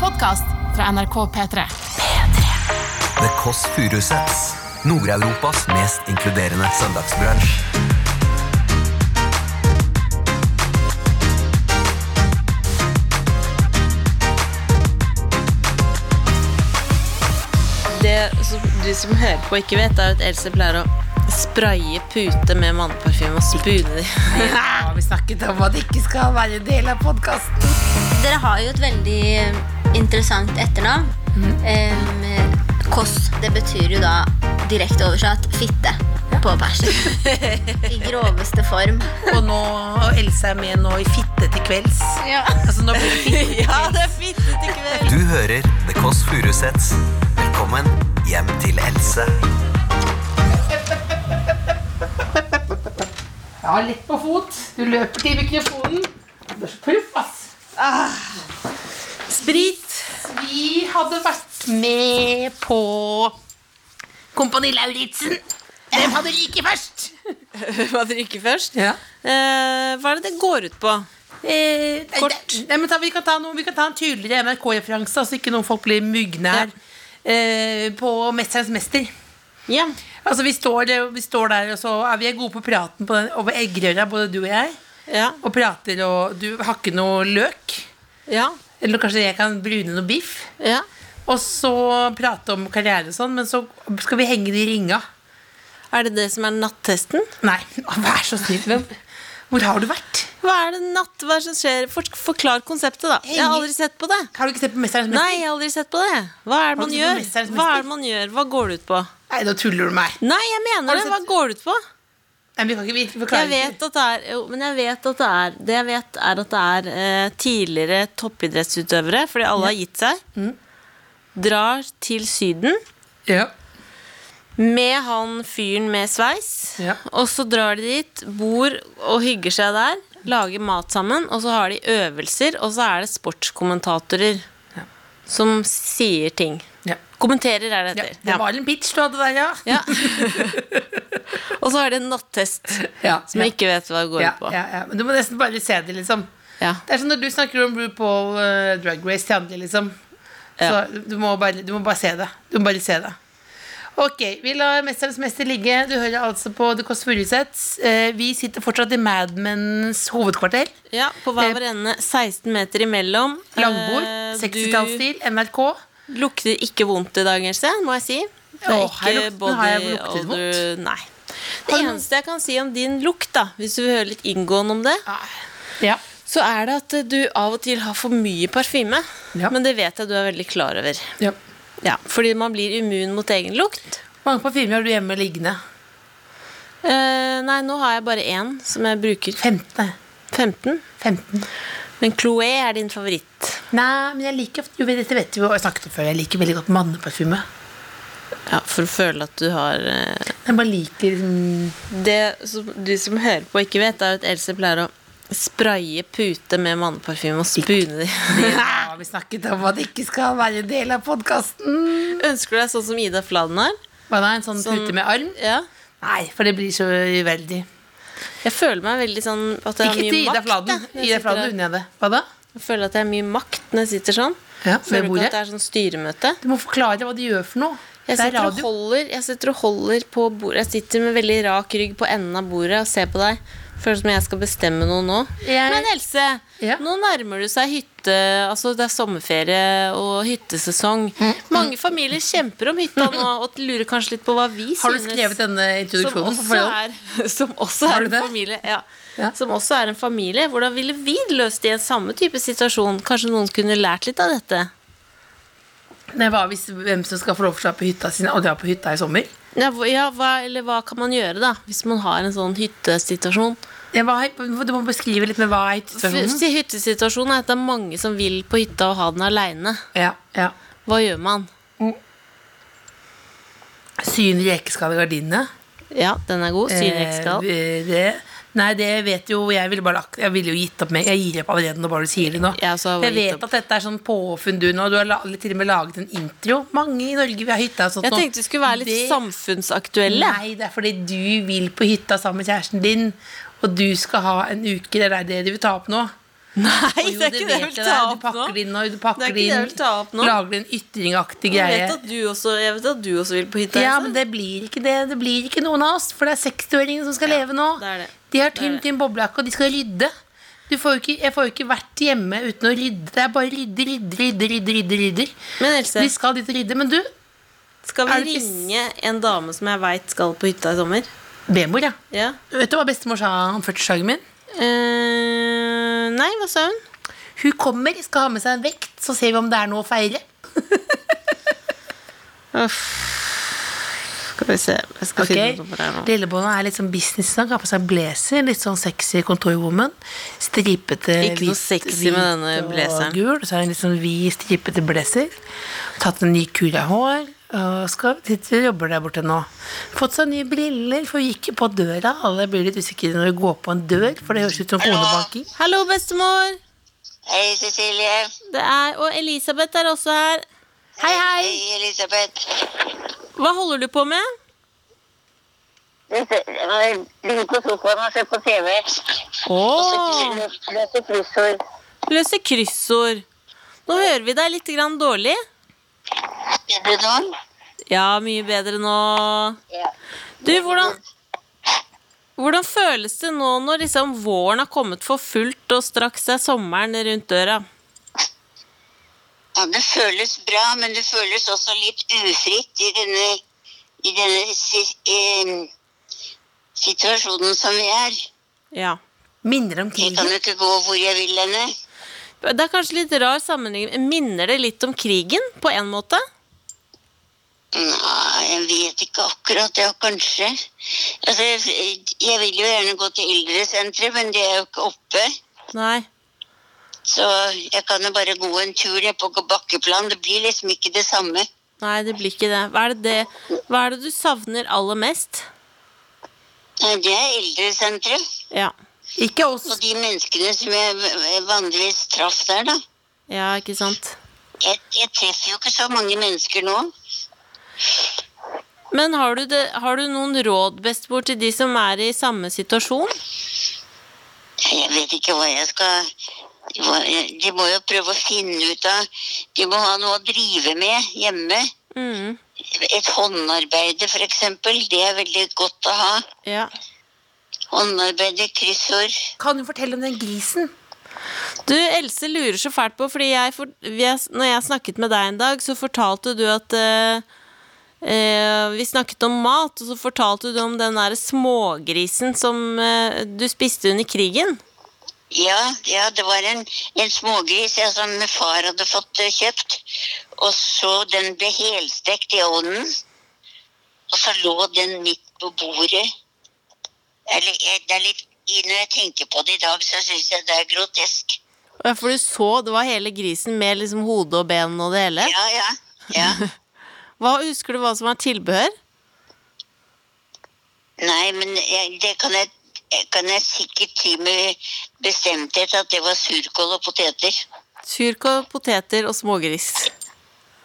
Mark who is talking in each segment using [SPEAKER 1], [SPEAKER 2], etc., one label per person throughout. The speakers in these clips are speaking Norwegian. [SPEAKER 1] podkast fra NRK P3.
[SPEAKER 2] The Kåss Furuseths. Nord-Europas mest inkluderende søndagsbransj.
[SPEAKER 3] Det som du som hører på ikke vet, er at Else pleier å spraye pute med manneparfyme og spune dem.
[SPEAKER 4] Ja, vi snakket om at det ikke skal være en del av podkasten.
[SPEAKER 5] Dere har jo et veldig eh, interessant etternavn. Em, Koss. Det betyr jo da direkte oversatt fitte på persisk. I groveste form.
[SPEAKER 4] Og nå og Else er med nå i Fitte til kvelds. Altså, nå blir det fitte.
[SPEAKER 3] Ja, det er fint! Det er ikke
[SPEAKER 2] Du hører The Kåss Furuseths. Velkommen hjem til Else.
[SPEAKER 4] Ja, lett på fot. Du løper til mikrofonen. Du er så proff, ass.
[SPEAKER 3] Sprit!
[SPEAKER 4] Vi hadde vært med på Kompani Lauritzen. Hvem hadde like først?
[SPEAKER 3] Hva drikker først? Eh, hva er det det går ut på?
[SPEAKER 4] Eh, nei,
[SPEAKER 3] Kort.
[SPEAKER 4] Nei, nei, men ta, vi, kan ta noe, vi kan ta en tydeligere NRK-referanse, så ikke noen folk blir myggnær. Eh, på Mesterens mester.
[SPEAKER 3] Ja.
[SPEAKER 4] Altså, vi står, vi står der, og så er vi gode på praten på den, over eggerøra, både du og jeg.
[SPEAKER 3] Ja.
[SPEAKER 4] Og prater, og du har ikke noe løk.
[SPEAKER 3] Ja.
[SPEAKER 4] Eller kanskje jeg kan brune noe biff.
[SPEAKER 3] ja.
[SPEAKER 4] Og så prate om karriere og sånn, men så skal vi henge de ringa.
[SPEAKER 3] Er det det som er nattesten?
[SPEAKER 4] Nei, å, vær så snill. Men hvor har du vært?
[SPEAKER 3] Hva er det natt? Hva er det som skjer? For, forklar konseptet, da. Jeg har aldri sett på det.
[SPEAKER 4] Har du ikke sett på Mesterens mester?
[SPEAKER 3] Nei, jeg har aldri sett på det. Hva er det man
[SPEAKER 4] du sett på
[SPEAKER 3] gjør?
[SPEAKER 4] Mesterens
[SPEAKER 3] Hva
[SPEAKER 4] mester?
[SPEAKER 3] er det man gjør? Hva går det ut på?
[SPEAKER 4] Nei, nå tuller du meg.
[SPEAKER 3] Nei, jeg mener
[SPEAKER 4] du
[SPEAKER 3] det. Hva
[SPEAKER 4] sett-
[SPEAKER 3] går det ut på?
[SPEAKER 4] Nei, vi kan ikke, vi
[SPEAKER 3] Jeg
[SPEAKER 4] forklarer
[SPEAKER 3] vet at det er, jo, men jeg vet at det er Det jeg vet er at det er eh, tidligere toppidrettsutøvere, fordi alle har gitt seg,
[SPEAKER 4] Mm.
[SPEAKER 3] drar til Syden
[SPEAKER 4] ikke. Ja.
[SPEAKER 3] med han fyren med sveis.
[SPEAKER 4] Ja.
[SPEAKER 3] Og så drar de dit, bor og hygger seg der, lager mat sammen, og så har de øvelser, og så er det sportskommentatorer som sier ting.
[SPEAKER 4] Ja.
[SPEAKER 3] Kommenterer er det
[SPEAKER 4] Ja,
[SPEAKER 3] heter.
[SPEAKER 4] det var en pitch du hadde der, ja.
[SPEAKER 3] Ja. og så har de en nattest
[SPEAKER 4] Ja,
[SPEAKER 3] som jeg ikke vet hva det går
[SPEAKER 4] ja,
[SPEAKER 3] ut på.
[SPEAKER 4] ja, ja. Men du må nesten bare se det, liksom.
[SPEAKER 3] Ja.
[SPEAKER 4] Det er som når du snakker om RuPaul eh, Drag Race til andre, liksom.
[SPEAKER 3] Ja.
[SPEAKER 4] Så du må, bare, du må bare se det. Du må bare se det. Ok, vi lar Mesterens mester ligge. Du hører altså på The Kåss Furuseths. Eh, Vi sitter fortsatt i Mad Men's hovedkvarter.
[SPEAKER 3] Ja, på hver vår ende. 16 meter imellom.
[SPEAKER 4] Langbord,
[SPEAKER 3] Eh,
[SPEAKER 4] 60-tallsstil, NRK.
[SPEAKER 3] Du lukter ikke vondt i dag, Else, må jeg si. Det er
[SPEAKER 4] Åh,
[SPEAKER 3] ikke
[SPEAKER 4] her lukten
[SPEAKER 3] body
[SPEAKER 4] har jeg luktet
[SPEAKER 3] odor-
[SPEAKER 4] vondt.
[SPEAKER 3] Nei. Det
[SPEAKER 4] Har du-
[SPEAKER 3] eneste jeg kan si om din lukt, da, hvis du vil høre litt inngående om det,
[SPEAKER 4] Ja.
[SPEAKER 3] så er det at eh, du av og til har for mye parfyme.
[SPEAKER 4] Ja.
[SPEAKER 3] Men det vet jeg du er veldig klar over.
[SPEAKER 4] ja.
[SPEAKER 3] Ja, fordi man blir immun mot egen lukt.
[SPEAKER 4] Hvor mange parfymer har du hjemme liggende?
[SPEAKER 3] Eh, nei, nå har jeg bare én som jeg bruker.
[SPEAKER 4] 15.
[SPEAKER 3] 15.
[SPEAKER 4] 15.
[SPEAKER 3] Men Chloé er din favoritt.
[SPEAKER 4] Nei, men jeg liker ofte, jo, dette vet vi jo, jeg snakket om før, jeg liker veldig godt manneparfyme.
[SPEAKER 3] Ja, For å føle at du har eh,
[SPEAKER 4] Jeg bare liker liksom
[SPEAKER 3] Det som du som hører på ikke vet, er at Else pleier å spraye pute med manneparfyme og spune dem.
[SPEAKER 4] Ja, vi snakket om at det ikke skal være en del av podkasten.
[SPEAKER 3] Ønsker du deg sånn som Ida Fladen har?
[SPEAKER 4] Hva da, en sånn, pute med arm?
[SPEAKER 3] Ja.
[SPEAKER 4] Nei, for det blir så uveldig.
[SPEAKER 3] Jeg føler meg veldig sånn at jeg har
[SPEAKER 4] Ikke
[SPEAKER 3] mye
[SPEAKER 4] til Ida
[SPEAKER 3] makt.
[SPEAKER 4] Fladen.
[SPEAKER 3] jeg.
[SPEAKER 4] Ida
[SPEAKER 3] Jeg,
[SPEAKER 4] Fladen
[SPEAKER 3] sitter,
[SPEAKER 4] unner jeg det. Hva da?
[SPEAKER 3] jeg føler at jeg har mye makt når jeg sitter sånn.
[SPEAKER 4] Ja,
[SPEAKER 3] Føler
[SPEAKER 4] ved
[SPEAKER 3] du ikke
[SPEAKER 4] bordet.
[SPEAKER 3] at det er sånn styremøte?
[SPEAKER 4] Du må forklare hva du gjør for noe.
[SPEAKER 3] Jeg
[SPEAKER 4] det er
[SPEAKER 3] sitter, og
[SPEAKER 4] radio.
[SPEAKER 3] holder, jeg sitter og holder på bordet. Jeg sitter med veldig rak rygg på enden av bordet og ser på deg. Føles som jeg skal bestemme noe nå.
[SPEAKER 4] Jeg-
[SPEAKER 3] Men Else,
[SPEAKER 4] Ja.
[SPEAKER 3] nå nærmer det seg hytte Altså det er sommerferie og hyttesesong.
[SPEAKER 4] Mm.
[SPEAKER 3] Mange familier kjemper om hytta nå og lurer kanskje litt på hva vi
[SPEAKER 4] Har du
[SPEAKER 3] synes.
[SPEAKER 4] skrevet denne
[SPEAKER 3] som
[SPEAKER 4] introduksjonen? på
[SPEAKER 3] også,
[SPEAKER 4] forhånd?
[SPEAKER 3] er, som også
[SPEAKER 4] Har
[SPEAKER 3] er
[SPEAKER 4] du
[SPEAKER 3] en
[SPEAKER 4] det?
[SPEAKER 3] familie. Ja.
[SPEAKER 4] Ja.
[SPEAKER 3] Som også er en familie. Hvordan ville vi løst det i en samme type situasjon? Kanskje noen kunne lært litt av dette?
[SPEAKER 4] Nei, hva hvis hvem som skal få lov til å dra på hytta sin, og dra på hytta i sommer?
[SPEAKER 3] Ja, hva, ja, hva, eller hva kan man gjøre da, hvis man har en sånn hyttesituasjon?
[SPEAKER 4] Ja, hva er, du må beskrive litt med hva er hyttestasjonen?
[SPEAKER 3] Første hyttesituasjonen er at det er mange som vil på hytta og ha den aleine.
[SPEAKER 4] Ja, ja.
[SPEAKER 3] Hva gjør man?
[SPEAKER 4] Syn rekeskall i gardinene.
[SPEAKER 3] Ja, den er god. Synrekskall.
[SPEAKER 4] Eh, det, nei, det vet jo Jeg ville bare lagt Jeg ville jo gitt opp med Jeg gir opp allerede når bare du sier det nå.
[SPEAKER 3] Ja, så har jeg
[SPEAKER 4] jeg
[SPEAKER 3] bare gitt
[SPEAKER 4] vet
[SPEAKER 3] opp.
[SPEAKER 4] at dette er sånn påfunn du nå. Du har la, til og med laget en intro. Mange i Norge vil ha hytta og sånt
[SPEAKER 3] Jeg
[SPEAKER 4] nå.
[SPEAKER 3] tenkte vi skulle være litt
[SPEAKER 4] Det-
[SPEAKER 3] samfunnsaktuelle.
[SPEAKER 4] Nei, det er fordi du vil på hytta sammen med kjæresten din, og du skal ha en uke. Det er det du vil ta opp nå.
[SPEAKER 3] Nei,
[SPEAKER 4] Jo,
[SPEAKER 3] det er ikke det jeg
[SPEAKER 4] vet
[SPEAKER 3] vil ta
[SPEAKER 4] jeg. Du
[SPEAKER 3] opp nå.
[SPEAKER 4] pakker det inn og du pakker
[SPEAKER 3] Det er ikke det jeg vil ta opp nå.
[SPEAKER 4] Lager en ytringaktig
[SPEAKER 3] Jeg
[SPEAKER 4] greie.
[SPEAKER 3] vet, at du også, jeg vet at du også vil på hytta.
[SPEAKER 4] Ja,
[SPEAKER 3] Else.
[SPEAKER 4] men det blir ikke det. Det blir ikke noen av oss. For det er 60-åringene som skal leve nå.
[SPEAKER 3] det er det.
[SPEAKER 4] De har
[SPEAKER 3] Det er
[SPEAKER 4] tømt inn boblejakke, og de skal rydde. Du får jo ikke, jeg får jo ikke vært hjemme uten å rydde. Det er bare rydde, rydde, rydde, rydde. rydde, rydder.
[SPEAKER 3] Men Else,
[SPEAKER 4] Vi skal dit og rydde. Men du,
[SPEAKER 3] skal vi
[SPEAKER 4] er det ikke s-
[SPEAKER 3] ringe en dame som jeg veit skal på hytta i sommer?
[SPEAKER 4] bemor, ja.
[SPEAKER 3] Ja.
[SPEAKER 4] Vet du hva bestemor sa om 40-årsdagen min?
[SPEAKER 3] Eh, nei, hva sa hun?
[SPEAKER 4] Hun kommer, skal ha med seg en vekt, så ser vi om det er noe å feire.
[SPEAKER 3] Uff. Skal vi se. Jeg skal finne noe på det her nå.
[SPEAKER 4] Lillebånda er litt sånn business. Han har på seg blazer, litt sånn sexy kontorwoman. Stripete
[SPEAKER 3] Ikke noe sexy med denne blazeren.
[SPEAKER 4] og gul. Så har hun litt sånn vid, stripete blazer. Tatt en ny kur av hår. Og skal, sitter og jobber der borte nå. Fått seg nye briller, for hun gikk på døra. Alle blir litt usikre når de går på en dør, for det høres ut som konebanking.
[SPEAKER 3] Hallo, bestemor.
[SPEAKER 6] Hei, Cecilie.
[SPEAKER 3] Det er, og Elisabeth er også her.
[SPEAKER 4] Hei, hei!
[SPEAKER 6] Hei, Elisabeth.
[SPEAKER 3] Hva holder du på med?
[SPEAKER 6] Jeg ligger på sofaen og ser på TV.
[SPEAKER 3] Åh,
[SPEAKER 6] Løser kryssord.
[SPEAKER 3] løse kryssord. Nå hører vi deg litt grann dårlig.
[SPEAKER 6] Bedre nå?
[SPEAKER 3] Ja, mye bedre nå.
[SPEAKER 6] Ja.
[SPEAKER 3] Du, hvordan, hvordan føles det nå når liksom våren har kommet for fullt, og straks er sommeren rundt døra?
[SPEAKER 6] ja. Det føles bra, men det føles også litt ufritt i denne, i denne si- em, situasjonen som vi er.
[SPEAKER 3] Ja.
[SPEAKER 4] Minner om
[SPEAKER 6] Jeg kan
[SPEAKER 4] krigen.
[SPEAKER 6] jo ikke gå hvor jeg vil henne.
[SPEAKER 3] Det er kanskje litt rar sammenligning. Minner det litt om krigen, på en måte?
[SPEAKER 6] Nei, jeg vet ikke akkurat. Ja, kanskje. Altså, jeg, jeg vil jo gjerne gå til eldresenteret, men det er jo ikke oppe.
[SPEAKER 3] Nei.
[SPEAKER 6] Så jeg kan jo bare gå en tur ned på bakkeplan. Det blir liksom ikke det samme.
[SPEAKER 3] Nei, det blir ikke det. Hva er det, det, hva er det du savner aller mest?
[SPEAKER 6] Nei, Eh, Det er eldresenteret.
[SPEAKER 3] Ja.
[SPEAKER 4] Ikke oss.
[SPEAKER 6] Og de menneskene som jeg v- vanligvis traff der, da.
[SPEAKER 3] Ja, ikke sant?
[SPEAKER 6] Jeg, jeg treffer jo ikke så mange mennesker nå.
[SPEAKER 3] Men har du, det, har du noen råd, bestemor, til de som er i samme situasjon?
[SPEAKER 6] Jeg vet ikke hva jeg skal hva, jeg- De må jo prøve å finne ut av De må ha noe å drive med hjemme.
[SPEAKER 3] Mm,
[SPEAKER 6] Et håndarbeide, f.eks. Det er veldig godt å ha.
[SPEAKER 3] ja.
[SPEAKER 6] Håndarbeide, kryssord.
[SPEAKER 4] Kan du fortelle om den grisen?
[SPEAKER 3] Du, Else lurer så fælt på, fordi jeg, for, vi er- når jeg snakket med deg en dag, så fortalte du at eh, eh, Vi snakket om mat, og så fortalte du om den der smågrisen som eh, du spiste under krigen.
[SPEAKER 6] Ja, ja, det var en, en smågris ja, som far hadde fått eh, kjøpt. Og så den ble helstekt i ovnen. Og så lå den midt på bordet. Eller, eh, det er litt, i- når jeg tenker på det i dag, så syns jeg det er grotesk.
[SPEAKER 3] Ja, For du så det var hele grisen med liksom hode og ben og det hele.
[SPEAKER 6] Ja, ja. ja.
[SPEAKER 3] Hva Husker du hva som var tilbehør?
[SPEAKER 6] Nei, men jeg, det kan jeg, kan jeg sikkert si med bestemthet at det var surkål og poteter.
[SPEAKER 3] Surkål, poteter og smågris.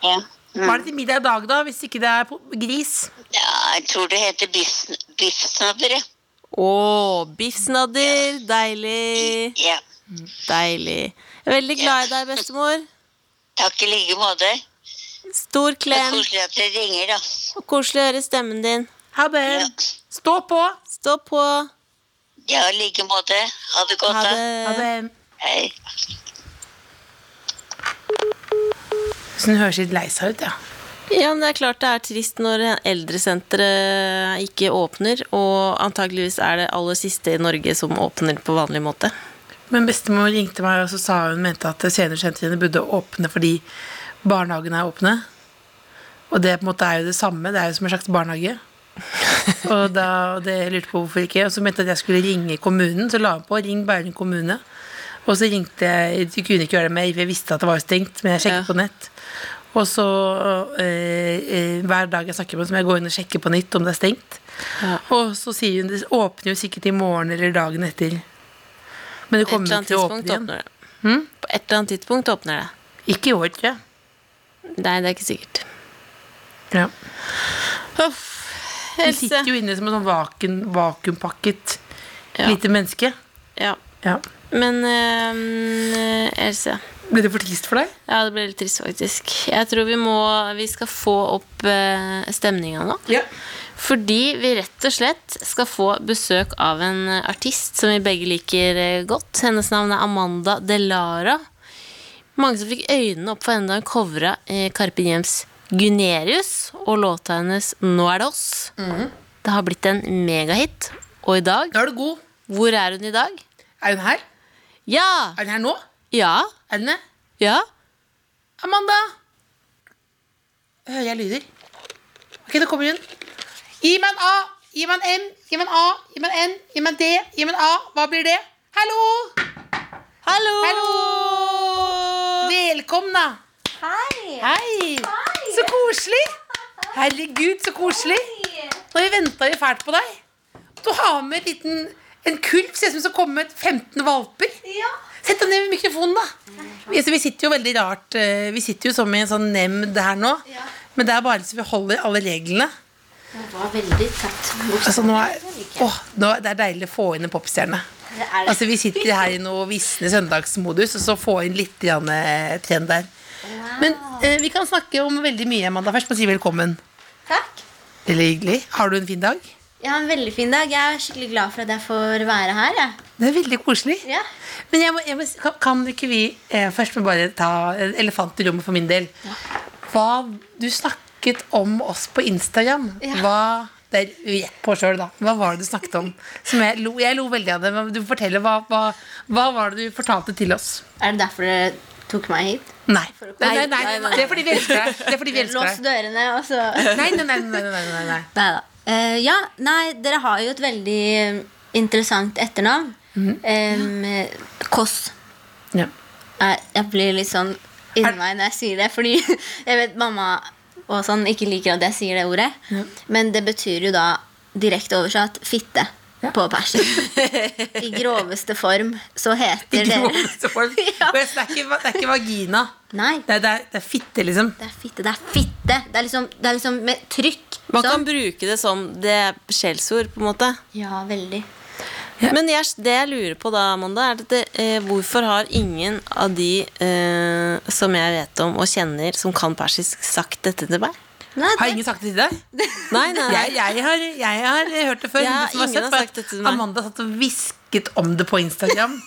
[SPEAKER 6] Ja.
[SPEAKER 3] Mm.
[SPEAKER 4] Hva er det til middag i dag, da, hvis ikke det er po- gris?
[SPEAKER 6] ja jeg tror det heter biff- biffsnabber. jeg.
[SPEAKER 3] Å, biffsnadder. Deilig.
[SPEAKER 6] Ja.
[SPEAKER 3] Deilig. Jeg er veldig glad i deg, bestemor.
[SPEAKER 6] Takk i like måte.
[SPEAKER 3] Stor
[SPEAKER 6] Det er
[SPEAKER 3] klem.
[SPEAKER 6] koselig at dere ringer, da.
[SPEAKER 3] Og koselig å høre stemmen din.
[SPEAKER 4] Ha det!
[SPEAKER 6] Ja.
[SPEAKER 4] Stå på!
[SPEAKER 3] Stå på.
[SPEAKER 6] Ja, i like måte. Ha det godt,
[SPEAKER 3] Ha
[SPEAKER 6] da.
[SPEAKER 4] Ha
[SPEAKER 3] det.
[SPEAKER 4] det!
[SPEAKER 6] Hei.
[SPEAKER 4] Så hun høres litt lei seg ut, ja.
[SPEAKER 3] Ja, men det er klart det er trist når eldresenteret ikke åpner, og antageligvis er det aller siste i Norge som åpner på vanlig måte.
[SPEAKER 4] Men bestemor ringte meg og så sa hun mente at seniorsentrene burde åpne fordi barnehagene er åpne. Og det på en måte er jo det samme. Det er jo som en slags barnehage. og da og det jeg lurte på hvorfor ikke. Og så mente jeg at jeg skulle ringe kommunen. Så la hun på 'ring Bærum kommune'. Og så ringte jeg Jeg kunne ikke gjøre det mer, for jeg visste at det var jo stengt. Men jeg sjekket
[SPEAKER 3] Ja.
[SPEAKER 4] på nett. Og så eh, eh, hver dag jeg snakker med henne, så må jeg gå inn og sjekke på nytt om det er stengt. Og så sier hun det åpner jo sikkert i morgen eller dagen etter. Men det
[SPEAKER 3] På et
[SPEAKER 4] kommer
[SPEAKER 3] eller annet
[SPEAKER 4] jo ikke til å åpne
[SPEAKER 3] tidspunkt
[SPEAKER 4] igjen. Hm?
[SPEAKER 3] åpner det. På et eller annet tidspunkt åpner det.
[SPEAKER 4] Ikke i år, tror jeg.
[SPEAKER 3] Nei, det er ikke sikkert.
[SPEAKER 4] Ja.
[SPEAKER 3] Uff.
[SPEAKER 4] Vi
[SPEAKER 3] Else.
[SPEAKER 4] sitter jo inne som en sånn vaken, vakuumpakket
[SPEAKER 3] Ja.
[SPEAKER 4] lite menneske.
[SPEAKER 3] Ja.
[SPEAKER 4] Ja.
[SPEAKER 3] Men eh, Else
[SPEAKER 4] Ble det for trist for deg?
[SPEAKER 3] Ja, det ble litt trist, faktisk. Jeg tror vi må Vi skal få opp eh, stemninga nå.
[SPEAKER 4] Ja.
[SPEAKER 3] Fordi vi rett og slett skal få besøk av en eh, artist som vi begge liker eh, godt. Hennes navn er Amanda Delara. Mange som fikk øynene opp for henne da hun covra eh, Carpe Diems Gunerius og låta hennes Nå er det oss. Det har blitt en megahit. Og i dag
[SPEAKER 4] Da er du god.
[SPEAKER 3] Hvor er hun i dag?
[SPEAKER 4] Er hun her?
[SPEAKER 3] Ja!
[SPEAKER 4] Er hun her nå?
[SPEAKER 3] Ja!
[SPEAKER 4] Er hun det?
[SPEAKER 3] Ja!
[SPEAKER 4] Amanda! Hører jeg lyder? Ok, da kommer hun. Gi meg en A! Gi meg en M! Gi meg en A! Gi meg en N! Gi meg en D! Gi meg en A! Hva blir det? Hallo!
[SPEAKER 3] Hallo!
[SPEAKER 4] Hallo! Velkomna!
[SPEAKER 5] Hei!
[SPEAKER 4] Hei! Så koselig! Herregud, så koselig! Nå har vi venta jo fælt på deg. Du har med en liten en kurv. Ser ut som det kommer med 15 valper.
[SPEAKER 5] Ja. Mm.
[SPEAKER 4] Sett deg ned ved mikrofonen, da. Vi, altså, vi sitter jo veldig rart eh, Vi sitter jo som i en sånn nemnd her nå.
[SPEAKER 5] Ja.
[SPEAKER 4] Men det er bare så vi holder alle reglene.
[SPEAKER 5] Det var veldig tett.
[SPEAKER 4] Altså, nå er, åh, nå, det er deilig å få inn en popstjerne. Altså, vi sitter her i noe visne søndagsmodus, og så få inn litt grann, eh, trend der. Men eh, vi kan snakke om veldig mye, Amanda. Først må jeg si velkommen.
[SPEAKER 5] Takk.
[SPEAKER 4] Veldig hyggelig. Har du en fin dag?
[SPEAKER 5] Jeg har en veldig fin dag. Jeg er skikkelig glad for at jeg får være her. Jeg.
[SPEAKER 4] Det er veldig koselig.
[SPEAKER 5] Ja.
[SPEAKER 4] Men jeg må, jeg må, si- kan- kan ikke vi eh, først må bare ta en elefant i rommet for min del? Hva Du snakket om oss på Instagram.
[SPEAKER 5] Ja.
[SPEAKER 4] Hva det er rett på selv, da. Hva var det du snakket om? Som jeg, lo, jeg lo veldig av det. men Du får fortelle, hva, hva, hva var det du fortalte til oss?
[SPEAKER 5] Er det derfor dere tok meg hit?
[SPEAKER 4] Nei.
[SPEAKER 5] å komme-
[SPEAKER 4] Nei, nei,
[SPEAKER 5] Nei, nei, nei.
[SPEAKER 4] Det er fordi vi elsker deg. Det er fordi vi elsker
[SPEAKER 5] Lås
[SPEAKER 4] deg.
[SPEAKER 5] dørene, og så
[SPEAKER 4] Nei, nei, nei. nei, nei, nei, nei.
[SPEAKER 5] Nei da. ja, nei, dere har jo et veldig eh, interessant etternavn. Em, eh, Kåss.
[SPEAKER 4] Ja.
[SPEAKER 5] Nei, Jeg blir litt sånn inni meg når jeg sier det, fordi jeg vet mamma og sånn ikke liker at jeg sier det ordet. Men det betyr jo da direkte oversatt fitte. På persen. I groveste form så
[SPEAKER 4] I
[SPEAKER 5] heter
[SPEAKER 4] groveste form.
[SPEAKER 5] Ja.
[SPEAKER 4] Og jeg- Det er ikke, det er ikke vagina.
[SPEAKER 5] Nei,
[SPEAKER 4] Det er, det er, det er fitte, liksom.
[SPEAKER 5] det er fitte. Det er fitte. Det er liksom, det er liksom med trykk.
[SPEAKER 3] Man
[SPEAKER 5] sånn.
[SPEAKER 3] kan bruke det som det skjellsord, på en måte.
[SPEAKER 5] Ja, veldig.
[SPEAKER 3] Men jeg, det jeg lurer på da, Amanda, er at det, eh, hvorfor har ingen av de eh, som jeg vet om og kjenner, som kan persisk, sagt dette til meg?
[SPEAKER 5] Nei,
[SPEAKER 4] Har
[SPEAKER 5] det-
[SPEAKER 4] ingen sagt det til deg?
[SPEAKER 3] Nei, nei, nei.
[SPEAKER 4] Jeg, jeg, har, jeg har hørt det før.
[SPEAKER 3] Ja,
[SPEAKER 4] men det som var
[SPEAKER 3] ingen
[SPEAKER 4] søtt
[SPEAKER 3] har
[SPEAKER 4] var
[SPEAKER 3] sagt det til meg.
[SPEAKER 4] Amanda satt og hvisket om det på Instagram.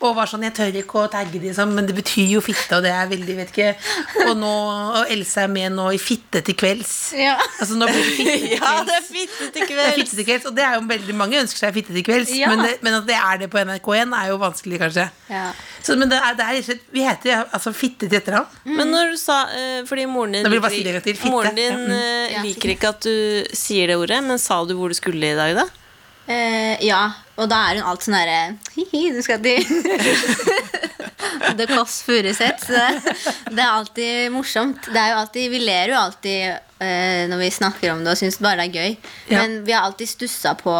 [SPEAKER 4] Og var sånn 'Jeg tør ikke å tagge de sånn, men det betyr jo fitte, og det er veldig vet ikke Og nå, og Else er med nå i Fitte til kvelds.
[SPEAKER 5] Ja.
[SPEAKER 4] Altså nå blir det fitte til
[SPEAKER 3] Ja,
[SPEAKER 4] kvelds.
[SPEAKER 3] det er fitte til
[SPEAKER 4] Det er
[SPEAKER 3] kveld!
[SPEAKER 4] fitte til kvelds, og det er jo veldig mange ønsker seg fitte til kvelds,
[SPEAKER 5] Ja.
[SPEAKER 4] men, det, men at det er det på NRK1, er jo vanskelig, kanskje.
[SPEAKER 5] Ja.
[SPEAKER 4] Så, men det er, det er rett og slett Vi heter ja, altså fitte til etternavn.
[SPEAKER 3] Men når du sa eh, Fordi moren din,
[SPEAKER 4] Da vil jeg bare
[SPEAKER 3] liker-
[SPEAKER 4] si det en gang til, fitte.
[SPEAKER 3] moren din
[SPEAKER 4] Ja,
[SPEAKER 3] eh,
[SPEAKER 5] Ja,
[SPEAKER 3] liker ikke at du sier det ordet, men sa du hvor du skulle i dag, da?
[SPEAKER 5] Eh, ja, og da er hun alt sånn herre Hi-hi, du skal til The Kåss Furuseth. så Det det er alltid morsomt. Det er jo alltid, vi ler jo alltid eh, når vi snakker om det og syns bare det er gøy.
[SPEAKER 4] Ja.
[SPEAKER 5] Men vi har alltid stussa på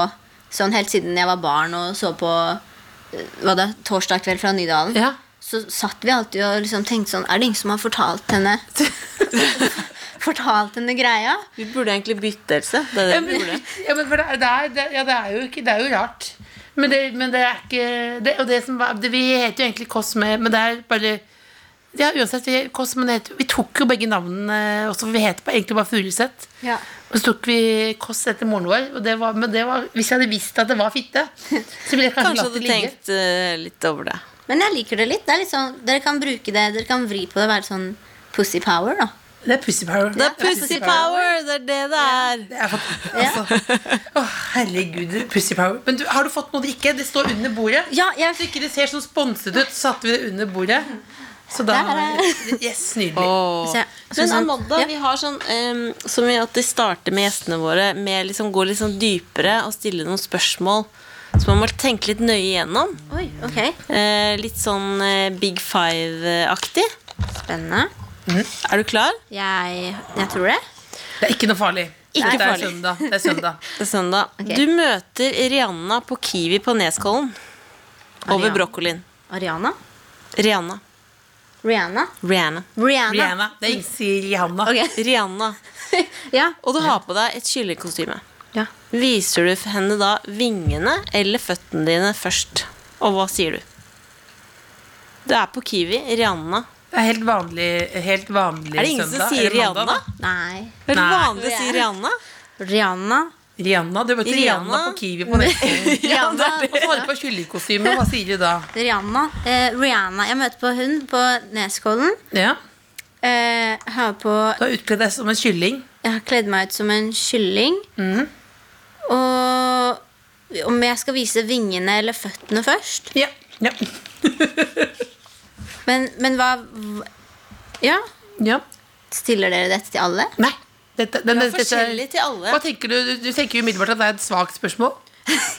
[SPEAKER 5] sånn helt siden jeg var barn og så på eh, hva da, Torsdag kveld fra Nydalen.
[SPEAKER 4] Ja.
[SPEAKER 5] Så satt vi alltid og liksom tenkte sånn Er det ingen som har fortalt henne Fortalt henne greia?
[SPEAKER 3] Vi burde egentlig bytte, Else. Det er det
[SPEAKER 4] Ja,
[SPEAKER 3] vi burde.
[SPEAKER 4] men, ja, men for det, er- det, er, det, ja, det, er jo ikke, det er jo rart. Men det, men det er ikke det, Og det som var det, Vi heter jo egentlig Kåss med Men det er bare Ja, uansett, vi, Kåss, men det heter, vi tok jo begge navnene også, for vi het bare- egentlig bare Furuseth.
[SPEAKER 5] Ja.
[SPEAKER 4] Og så tok vi Kåss etter moren vår. Og det var, men det var, hvis jeg hadde visst at det var fitte, så ville jeg kanskje,
[SPEAKER 3] Kanskje
[SPEAKER 4] latt det
[SPEAKER 3] du
[SPEAKER 4] ligge.
[SPEAKER 3] tenkte eh, litt over det.
[SPEAKER 5] Men jeg liker det litt. Det er litt sånn, dere kan bruke det, dere kan vri på det og være sånn pussy power. da.
[SPEAKER 4] Det er pussy power.
[SPEAKER 3] Det er pussy power! Det er det det er.
[SPEAKER 4] Det er fant- altså. Å, herregud, pussy power. Men du, har du fått noe å drikke? Det står under bordet.
[SPEAKER 5] Ja,
[SPEAKER 4] Hvis
[SPEAKER 5] jeg,
[SPEAKER 4] ikke det ser sånn sponset ut, så satte vi det under bordet. Så da
[SPEAKER 5] Der er
[SPEAKER 4] Yes, nydelig.
[SPEAKER 3] Åh.
[SPEAKER 5] så jeg
[SPEAKER 3] Men
[SPEAKER 5] sånn-
[SPEAKER 3] Amanda, vi har sånn em, Som vi alltid starter med gjestene våre Med liksom gå litt sånn dypere Og stille noen spørsmål Som man må tenke litt nøye igjennom
[SPEAKER 5] Oi, ok.
[SPEAKER 3] Eh, Litt sånn eh, Big Five-aktig
[SPEAKER 5] Spennende.
[SPEAKER 3] Er du klar?
[SPEAKER 5] Jeg, jeg tror det.
[SPEAKER 4] Det er ikke noe farlig.
[SPEAKER 3] Ikke
[SPEAKER 4] det er
[SPEAKER 3] farlig.
[SPEAKER 4] søndag. Det er søndag.
[SPEAKER 3] Det er søndag
[SPEAKER 5] Ok.
[SPEAKER 3] Du møter Rihanna på Kiwi på Neskollen Over
[SPEAKER 5] Rihanna.
[SPEAKER 3] brokkolin
[SPEAKER 5] Ariana?
[SPEAKER 3] Rihanna
[SPEAKER 5] Rihanna?
[SPEAKER 3] Rihanna
[SPEAKER 5] Rihanna.
[SPEAKER 4] Rihanna. Det er ingen som sier Rihanna.
[SPEAKER 5] Ok.
[SPEAKER 3] Rihanna
[SPEAKER 5] ja.
[SPEAKER 3] Og du har på deg et kyllingkostyme
[SPEAKER 5] ja.
[SPEAKER 3] Viser du henne da vingene Eller føttene dine først? Og hva sier du? Det er på Kiwi. Rihanna.
[SPEAKER 4] Det er helt vanlig, helt vanlig
[SPEAKER 3] Er det ingen som
[SPEAKER 4] søndag,
[SPEAKER 3] sier
[SPEAKER 4] eller mandag,
[SPEAKER 3] Rihanna?
[SPEAKER 4] da.
[SPEAKER 5] Nei.
[SPEAKER 3] Er det
[SPEAKER 4] Nei.
[SPEAKER 3] vanlig å si Rihanna?
[SPEAKER 5] Rihanna.
[SPEAKER 4] Rihanna? Du møtte Rihanna
[SPEAKER 3] Rihanna?
[SPEAKER 4] på Kiwi på nettet.
[SPEAKER 5] Rihanna.
[SPEAKER 4] Og får på kyllingkostyme, hva sier du da?
[SPEAKER 5] Rihanna. Eh, Rihanna. Jeg møter på hun på Neskollen.
[SPEAKER 4] Ja,
[SPEAKER 5] Eh, har på,
[SPEAKER 4] Du har utkledd deg som en kylling.
[SPEAKER 5] jeg har kledd meg ut som en kylling. Og om jeg skal vise vingene eller føttene først?
[SPEAKER 4] Ja. Ja.
[SPEAKER 5] Men, men hva hva- Ja.
[SPEAKER 4] ja.
[SPEAKER 5] Stiller dere dette til alle?
[SPEAKER 4] Nei. Dette, den,
[SPEAKER 3] Det er
[SPEAKER 4] dette-
[SPEAKER 3] forskjellig til alle.
[SPEAKER 4] Hva tenker du? du? Du tenker jo umiddelbart at det er et svakt spørsmål.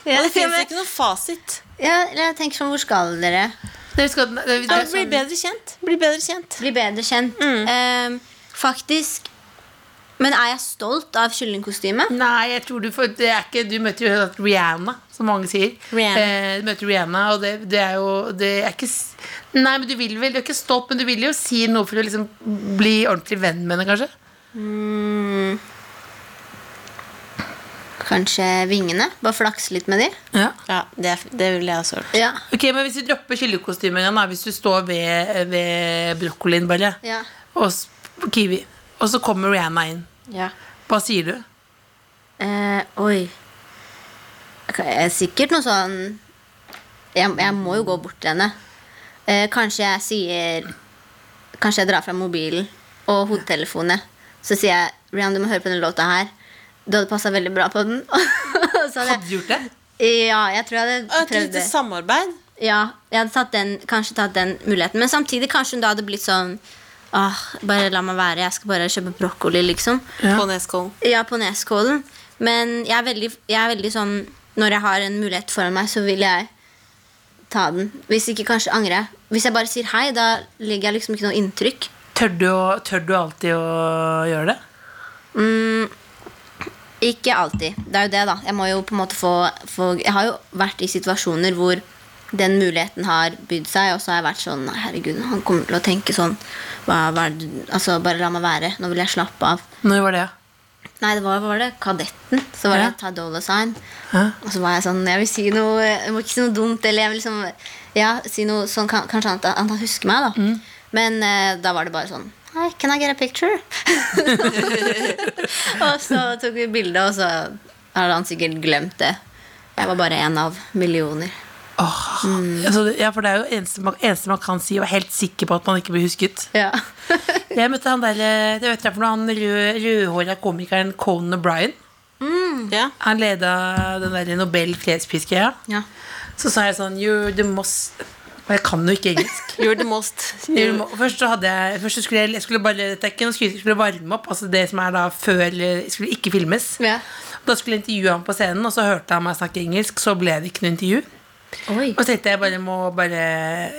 [SPEAKER 5] Ja,
[SPEAKER 3] Det fins ikke noe fasit.
[SPEAKER 5] Ja, jeg tenker sånn, hvor skal dere?
[SPEAKER 4] Dere skal, det, det, sånn-
[SPEAKER 3] Ja, bli bedre kjent. Bli bedre kjent.
[SPEAKER 5] Bli bedre kjent. Eh, faktisk Men er jeg stolt av kyllingkostymet?
[SPEAKER 4] Nei, jeg tror du får det er ikke, Du møter jo Rihanna, som mange sier.
[SPEAKER 3] Rihanna.
[SPEAKER 4] Eh, du møter Rihanna, og det, det er jo det er ikke, s- Nei, men du vil vel Du er ikke stolt, men du vil jo si noe for å liksom bli ordentlig venn med henne, kanskje?
[SPEAKER 5] Kanskje vingene? Bare flakse litt med de?
[SPEAKER 4] Ja.
[SPEAKER 3] Ja, det, er- det ville jeg også gjort.
[SPEAKER 5] Ja.
[SPEAKER 4] Ok, men Hvis du dropper kyllingkostymet en gang, da, hvis du står ved, ved brokkolien bare,
[SPEAKER 5] Ja.
[SPEAKER 4] og s- kiwi, og så kommer Rihanna inn,
[SPEAKER 5] ja.
[SPEAKER 4] hva sier du?
[SPEAKER 5] Eh, oi. Ok, eh, Sikkert noe sånn jeg, jeg må jo gå bort til henne. Eh, kanskje jeg sier Kanskje jeg drar fra mobilen og hodetelefonene. Så sier jeg Rihanna, du må høre på denne låta her. Du hadde passa veldig bra på den. så hadde
[SPEAKER 4] Hadde du gjort det?
[SPEAKER 5] jeg, ja, jeg tror jeg hadde
[SPEAKER 3] Og Et
[SPEAKER 5] prøvd
[SPEAKER 3] lite
[SPEAKER 5] det.
[SPEAKER 3] samarbeid.
[SPEAKER 5] Ja, jeg hadde tatt den, kanskje tatt den muligheten. Men samtidig kanskje hun da hadde blitt sånn Åh, bare la meg være. Jeg skal bare kjøpe brokkoli, liksom.
[SPEAKER 3] På Neskollen.
[SPEAKER 5] Ja, på Neskålen. Men jeg er, veldig, jeg er veldig sånn Når jeg har en mulighet foran meg, så vil jeg ta den. Hvis ikke, kanskje angrer jeg. Hvis jeg bare sier hei, da legger jeg liksom ikke noe inntrykk.
[SPEAKER 4] Tør du, å- tør du alltid å gjøre det?
[SPEAKER 5] Ikke alltid. Det er jo det, da. Jeg må jo på en måte få, få Jeg har jo vært i situasjoner hvor den muligheten har bydd seg, og så har jeg vært sånn Nei, herregud, han kommer til å tenke sånn hva, hva er det, du- Altså, bare la meg være. Nå vil jeg slappe av.
[SPEAKER 4] Når var det?
[SPEAKER 5] Nei, det var, hva var det Kadetten. Så var
[SPEAKER 4] Ja.
[SPEAKER 5] det Tadola Sign.
[SPEAKER 4] Ja.
[SPEAKER 5] Og så var jeg sånn Jeg vil si noe Jeg må ikke si noe dumt, eller jeg vil liksom Ja, si noe sånn kan, Kanskje han, han husker meg, da. Men eh, da var det bare sånn Hei, can I get a picture? og så tok vi bilde, og så hadde han sikkert glemt det. Jeg var bare én av millioner.
[SPEAKER 4] Åh,
[SPEAKER 5] Mm.
[SPEAKER 4] altså, det- ja, for det er jo eneste man, eneste man kan si og er helt sikker på at man ikke blir husket.
[SPEAKER 5] Ja.
[SPEAKER 4] Jeg møtte han der, eh, det vet jeg for noe, han rød, rødhåra komikeren Conan O'Brien.
[SPEAKER 3] Ja.
[SPEAKER 4] Han leda den der Nobel fredsprisgreia.
[SPEAKER 5] ja.
[SPEAKER 4] Så sa jeg sånn You're the most Og jeg kan jo ikke engelsk.
[SPEAKER 3] You're the most.
[SPEAKER 4] You're the mo- Først så hadde jeg Først så skulle jeg, jeg skulle bare Dette er ikke noe skuespill, jeg skulle varme opp. Altså det som er da før eh, skulle ikke filmes.
[SPEAKER 5] ja.
[SPEAKER 4] Da skulle jeg intervjue ham på scenen, og så hørte han meg snakke engelsk. Så ble det ikke noe intervju.
[SPEAKER 5] Oi.
[SPEAKER 4] Og så tenkte jeg bare må bare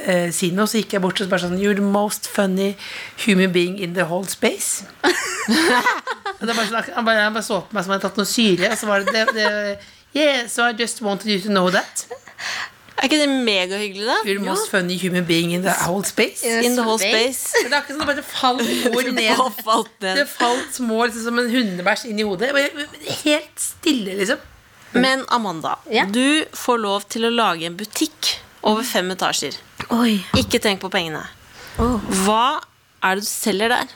[SPEAKER 4] eh, si noe, så gikk jeg bort og så bare sånn You're the most funny human being in the whole space. og det var sånn, han, bare, han bare så på meg som om jeg hadde tatt noe syre, og så var det, det, det Yeah, so I just wanted you to know that.
[SPEAKER 3] Er ikke det megahyggelig, da?
[SPEAKER 4] You're the most funny human being in the whole space.
[SPEAKER 5] Ja.
[SPEAKER 3] In the whole space.
[SPEAKER 4] Men Det er akkurat som det bare falt ord ned.
[SPEAKER 3] Å, falt
[SPEAKER 4] Det
[SPEAKER 3] ned.
[SPEAKER 4] falt små liksom, som en hundebæsj inn i hodet. Jeg Bare, helt stille, liksom.
[SPEAKER 3] Men Amanda,
[SPEAKER 5] Ja.
[SPEAKER 3] du får lov til å lage en butikk over fem etasjer.
[SPEAKER 5] Oi.
[SPEAKER 3] Ikke tenk på pengene.
[SPEAKER 5] Åh.
[SPEAKER 3] Hva er det du selger der?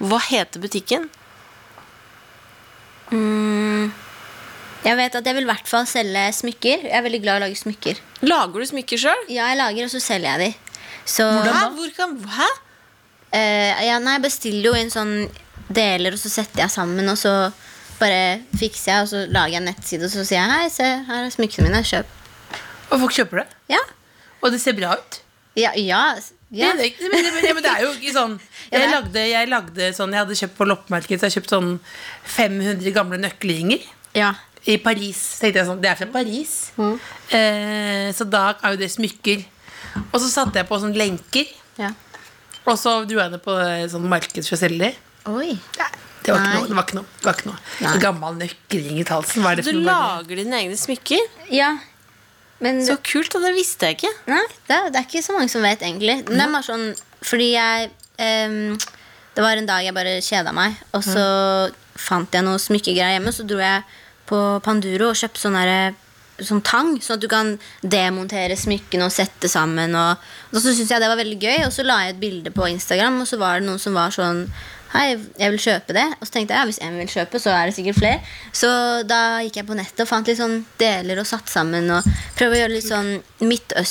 [SPEAKER 3] Hva heter butikken?
[SPEAKER 5] Jeg vet at jeg vil i hvert fall selge smykker. Jeg er veldig glad i å lage smykker.
[SPEAKER 3] Lager du smykker sjøl?
[SPEAKER 5] Ja, jeg lager, og så selger jeg de. Så
[SPEAKER 3] Hæ? Hvor kan, hæ?
[SPEAKER 5] Eh, ja, nei, jeg bestiller jo inn sånn deler, og så setter jeg sammen, og så bare fikser jeg, og så lager jeg en nettside, og så sier jeg hei, se, her er smykkene mine, kjøp.
[SPEAKER 4] Og folk kjøper det.
[SPEAKER 5] Ja.
[SPEAKER 4] Og det ser bra ut.
[SPEAKER 5] Ja, ja. s- ja.
[SPEAKER 4] Men, det- men, det- men det er jo ikke sånn jeg
[SPEAKER 5] Ja, det er-
[SPEAKER 4] lagde, jeg lagde sånn Jeg hadde kjøpt på loppemarkedet Så jeg kjøpte sånn 500 gamle nøkkelringer
[SPEAKER 5] ja.
[SPEAKER 4] I Paris Så tenkte jeg sånn Det er fra Paris
[SPEAKER 5] Mm.
[SPEAKER 4] eh, Så da er jo det smykker Og så satte jeg på sånn lenker
[SPEAKER 5] ja.
[SPEAKER 4] Og så dro jeg ned på eh, sånn marked for å selge de
[SPEAKER 5] Oi.
[SPEAKER 4] det var, ikke
[SPEAKER 5] Nei.
[SPEAKER 4] noe, det var ikke noe, det var ikke noe.
[SPEAKER 5] Nei.
[SPEAKER 4] Gammel nøkkelring i halsen Hva er det
[SPEAKER 3] Du
[SPEAKER 4] for noe?
[SPEAKER 3] lager dine egne smykker?
[SPEAKER 5] Ja. Men
[SPEAKER 3] Så kult, da. Det visste jeg ikke.
[SPEAKER 5] Nei, det, er- det er ikke så mange som vet, egentlig. Det er bare sånn, fordi jeg ehm, Det var en dag jeg bare kjeda meg, og så fant jeg noe smykkegreier hjemme, så dro jeg på Panduro og kjøpte sånn derre som tang, sånn at du kan demontere smykkene og sette sammen. Og, og så syntes jeg det var veldig gøy, og så la jeg et bilde på Instagram, og så var det noen som var sånn Hei, jeg vil kjøpe det. Og så tenkte jeg ja, hvis en vil kjøpe, så er det sikkert flere. Så da gikk jeg på nettet og fant litt sånn deler og satt sammen. Og prøvde å gjøre litt sånn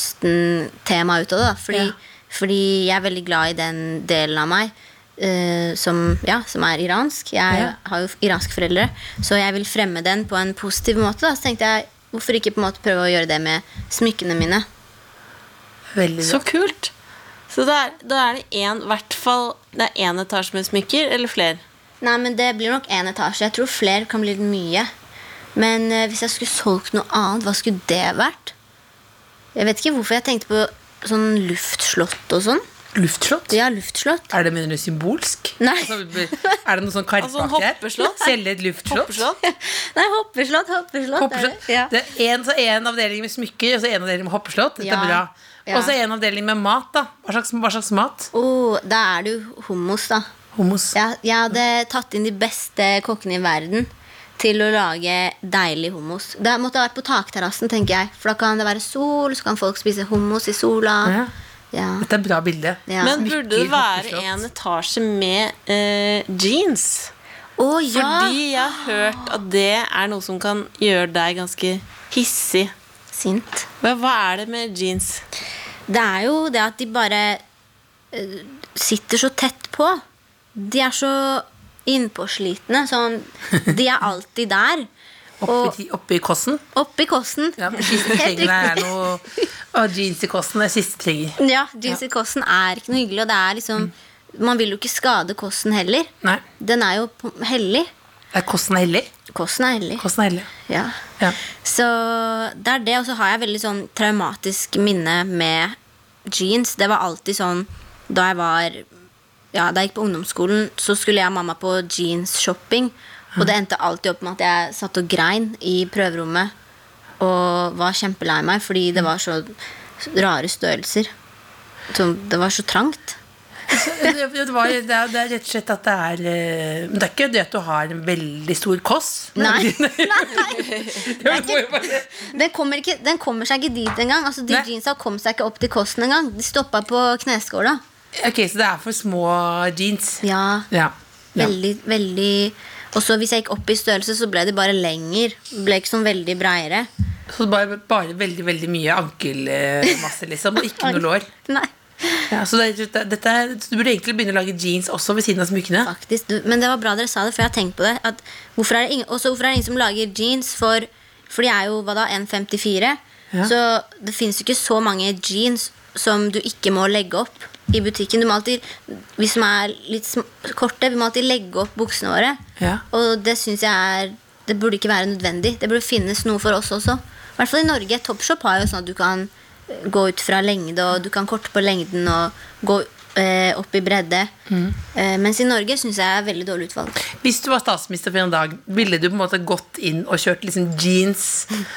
[SPEAKER 5] Midtøsten-tema ut av det. da fordi,
[SPEAKER 4] Ja.
[SPEAKER 5] fordi jeg er veldig glad i den delen av meg eh, som, ja, som er iransk. Jeg
[SPEAKER 4] Ja.
[SPEAKER 5] har jo iranske foreldre, så jeg vil fremme den på en positiv måte. Da. Så tenkte jeg, hvorfor ikke på en måte prøve å gjøre det med smykkene mine?
[SPEAKER 4] Veldig bra.
[SPEAKER 3] Så kult! Så da er, da er det én, i hvert fall Det er én etasje med smykker, eller flere?
[SPEAKER 5] Nei, men det blir nok én etasje. Jeg tror flere kan bli litt mye. Men eh, hvis jeg skulle solgt noe annet, hva skulle det vært? Jeg vet ikke hvorfor jeg tenkte på sånn luftslott og sånn.
[SPEAKER 4] Luftslott?
[SPEAKER 5] Ja, luftslott.
[SPEAKER 4] Er det mener du symbolsk?
[SPEAKER 5] Nei.
[SPEAKER 4] Altså, er det noe
[SPEAKER 3] Altså,
[SPEAKER 4] sånn
[SPEAKER 3] en
[SPEAKER 4] karpaktig her?
[SPEAKER 3] hoppeslott?
[SPEAKER 4] Selge et luftslott?
[SPEAKER 3] Hoppeslott?
[SPEAKER 5] Nei, hoppeslott. Hoppeslott.
[SPEAKER 4] Hoppeslott.
[SPEAKER 5] Er det? Ja.
[SPEAKER 4] Det er en, så en avdeling med smykker, og så en avdeling med hoppeslott. Dette
[SPEAKER 5] Ja.
[SPEAKER 4] er bra.
[SPEAKER 5] Ja.
[SPEAKER 4] Og så en avdeling med mat, da. Hva slags, hva slags mat?
[SPEAKER 5] Åh, da er det jo hummus, da.
[SPEAKER 4] Hummus.
[SPEAKER 5] Jeg, jeg hadde tatt inn de beste kokkene i verden til å lage deilig hummus. Det måtte ha vært på takterrassen, tenker jeg. For da kan det være sol, så kan folk spise hummus i sola.
[SPEAKER 4] Ja.
[SPEAKER 5] Ja.
[SPEAKER 4] Dette er et bra bilde.
[SPEAKER 5] Ja.
[SPEAKER 3] Men
[SPEAKER 4] Smykker,
[SPEAKER 3] burde det være
[SPEAKER 4] hoppeslott.
[SPEAKER 3] en etasje med eh, jeans?
[SPEAKER 5] Å ja!
[SPEAKER 3] Fordi jeg har hørt at det er noe som kan gjøre deg ganske hissig.
[SPEAKER 5] Sint.
[SPEAKER 3] Hva, hva er det med jeans?
[SPEAKER 5] Det er jo det at de bare eh, sitter så tett på. De er så innpåslitne. Sånn, de er alltid der.
[SPEAKER 4] Oppi,
[SPEAKER 5] Og
[SPEAKER 4] ti- oppi kosten.
[SPEAKER 5] oppi kosten.
[SPEAKER 4] Ja, de siste
[SPEAKER 5] Helt
[SPEAKER 4] tingene er
[SPEAKER 5] riktig.
[SPEAKER 4] noe Og jeans i kosten er siste ting.
[SPEAKER 5] Ja, jeans i kosten er ikke noe hyggelig, og det er liksom Man vil jo ikke skade kosten heller.
[SPEAKER 4] Nei.
[SPEAKER 5] Den er jo på- hellig.
[SPEAKER 4] Er kosten hellig?
[SPEAKER 5] Kosten er hellig.
[SPEAKER 4] Kosten er hellig.
[SPEAKER 5] Ja.
[SPEAKER 4] Ja.
[SPEAKER 5] Så det er det, og så har jeg veldig sånn traumatisk minne med jeans. Det var alltid sånn da jeg var Ja, da jeg gikk på ungdomsskolen, så skulle jeg og mamma på jeans-shopping, og det endte alltid opp med at jeg satt og grein i prøverommet og var kjempelei meg fordi det var så rare størrelser. Som- Det var så trangt.
[SPEAKER 4] det, det, var, det, er, det er rett og slett at det er eh, Men det er ikke det at du har en veldig stor koss.
[SPEAKER 5] Nei.
[SPEAKER 4] Det var jo bare-
[SPEAKER 5] Den kommer, ikke, den kommer seg ikke dit engang. Altså, de
[SPEAKER 4] Nei.
[SPEAKER 5] jeansa kom seg ikke opp til kosten engang. De stoppa på kneskåla.
[SPEAKER 4] Ok, Så det er for små jeans.
[SPEAKER 5] Ja,
[SPEAKER 4] Ja. ja.
[SPEAKER 5] veldig, veldig Og så hvis jeg gikk opp i størrelse, så ble de bare lenger. Ble ikke sånn veldig breiere.
[SPEAKER 4] Så bare, bare veldig veldig mye ankelmasse, liksom, og ikke noe lår.
[SPEAKER 5] Nei,
[SPEAKER 4] Ja, så det, er- det- dette er, så Du burde egentlig begynne å lage jeans også ved siden av smykkene.
[SPEAKER 5] faktisk. Du, men det var bra dere sa det, for jeg har tenkt på det. At hvorfor er det ingen, også hvorfor er det ingen som lager jeans for For de er jo hva da, 1,54.
[SPEAKER 4] Ja.
[SPEAKER 5] Så det fins jo ikke så mange jeans som du ikke må legge opp i butikken. Du må alltid, Vi som er litt sm korte, vi må alltid legge opp buksene våre.
[SPEAKER 4] Ja.
[SPEAKER 5] Og det syns jeg er Det burde ikke være nødvendig. Det burde finnes noe for oss også. I hvert fall i Norge. Topshop har jo sånn at du kan eh, gå ut fra lengde, og du kan korte på lengden og gå eh, opp i bredde. Eh, mens i Norge syns jeg er veldig dårlig utvalg.
[SPEAKER 4] Hvis du var statsminister for en dag, ville du på en måte gått inn og kjørt liksom jeans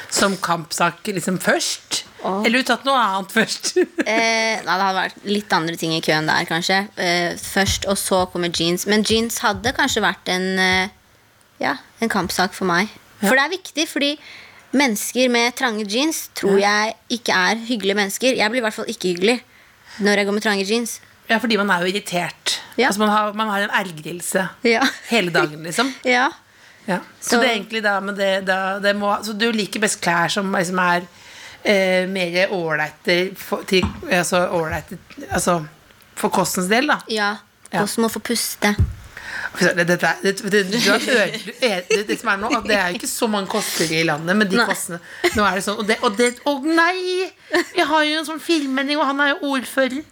[SPEAKER 4] som kampsak liksom først? Eller du tatt noe annet først?
[SPEAKER 5] Eh, nei, det hadde vært litt andre ting i køen der, kanskje. Eh, først, og så kommer jeans. Men jeans hadde kanskje vært en, eh, ja, en kampsak for meg. For det er viktig, fordi mennesker med trange jeans tror jeg ikke er hyggelige mennesker. Jeg blir i hvert fall ikke hyggelig når jeg går med trange jeans.
[SPEAKER 4] Ja, fordi man er jo irritert.
[SPEAKER 5] Ja.
[SPEAKER 4] Altså, man har, man har en ergrelse
[SPEAKER 5] Ja.
[SPEAKER 4] hele dagen, liksom.
[SPEAKER 5] Ja.
[SPEAKER 4] Ja. Så,
[SPEAKER 5] Så-
[SPEAKER 4] det er egentlig da, men det, da det må, Så du liker best klær som liksom er eh, mer ålreite for, til- altså, ålreite- altså, for kostens del, da.
[SPEAKER 5] ja.
[SPEAKER 4] Ja.
[SPEAKER 5] Også må få puste.
[SPEAKER 4] For så- Det, dette er- det, det, du har øde- du øde- det, det som er nå, at det er jo ikke så mange koster i landet, men de
[SPEAKER 5] Nei.
[SPEAKER 4] kostene Nå er det sånn, og det, og det Å nei! Vi har jo en sånn filmmelding, og han er jo ordfører.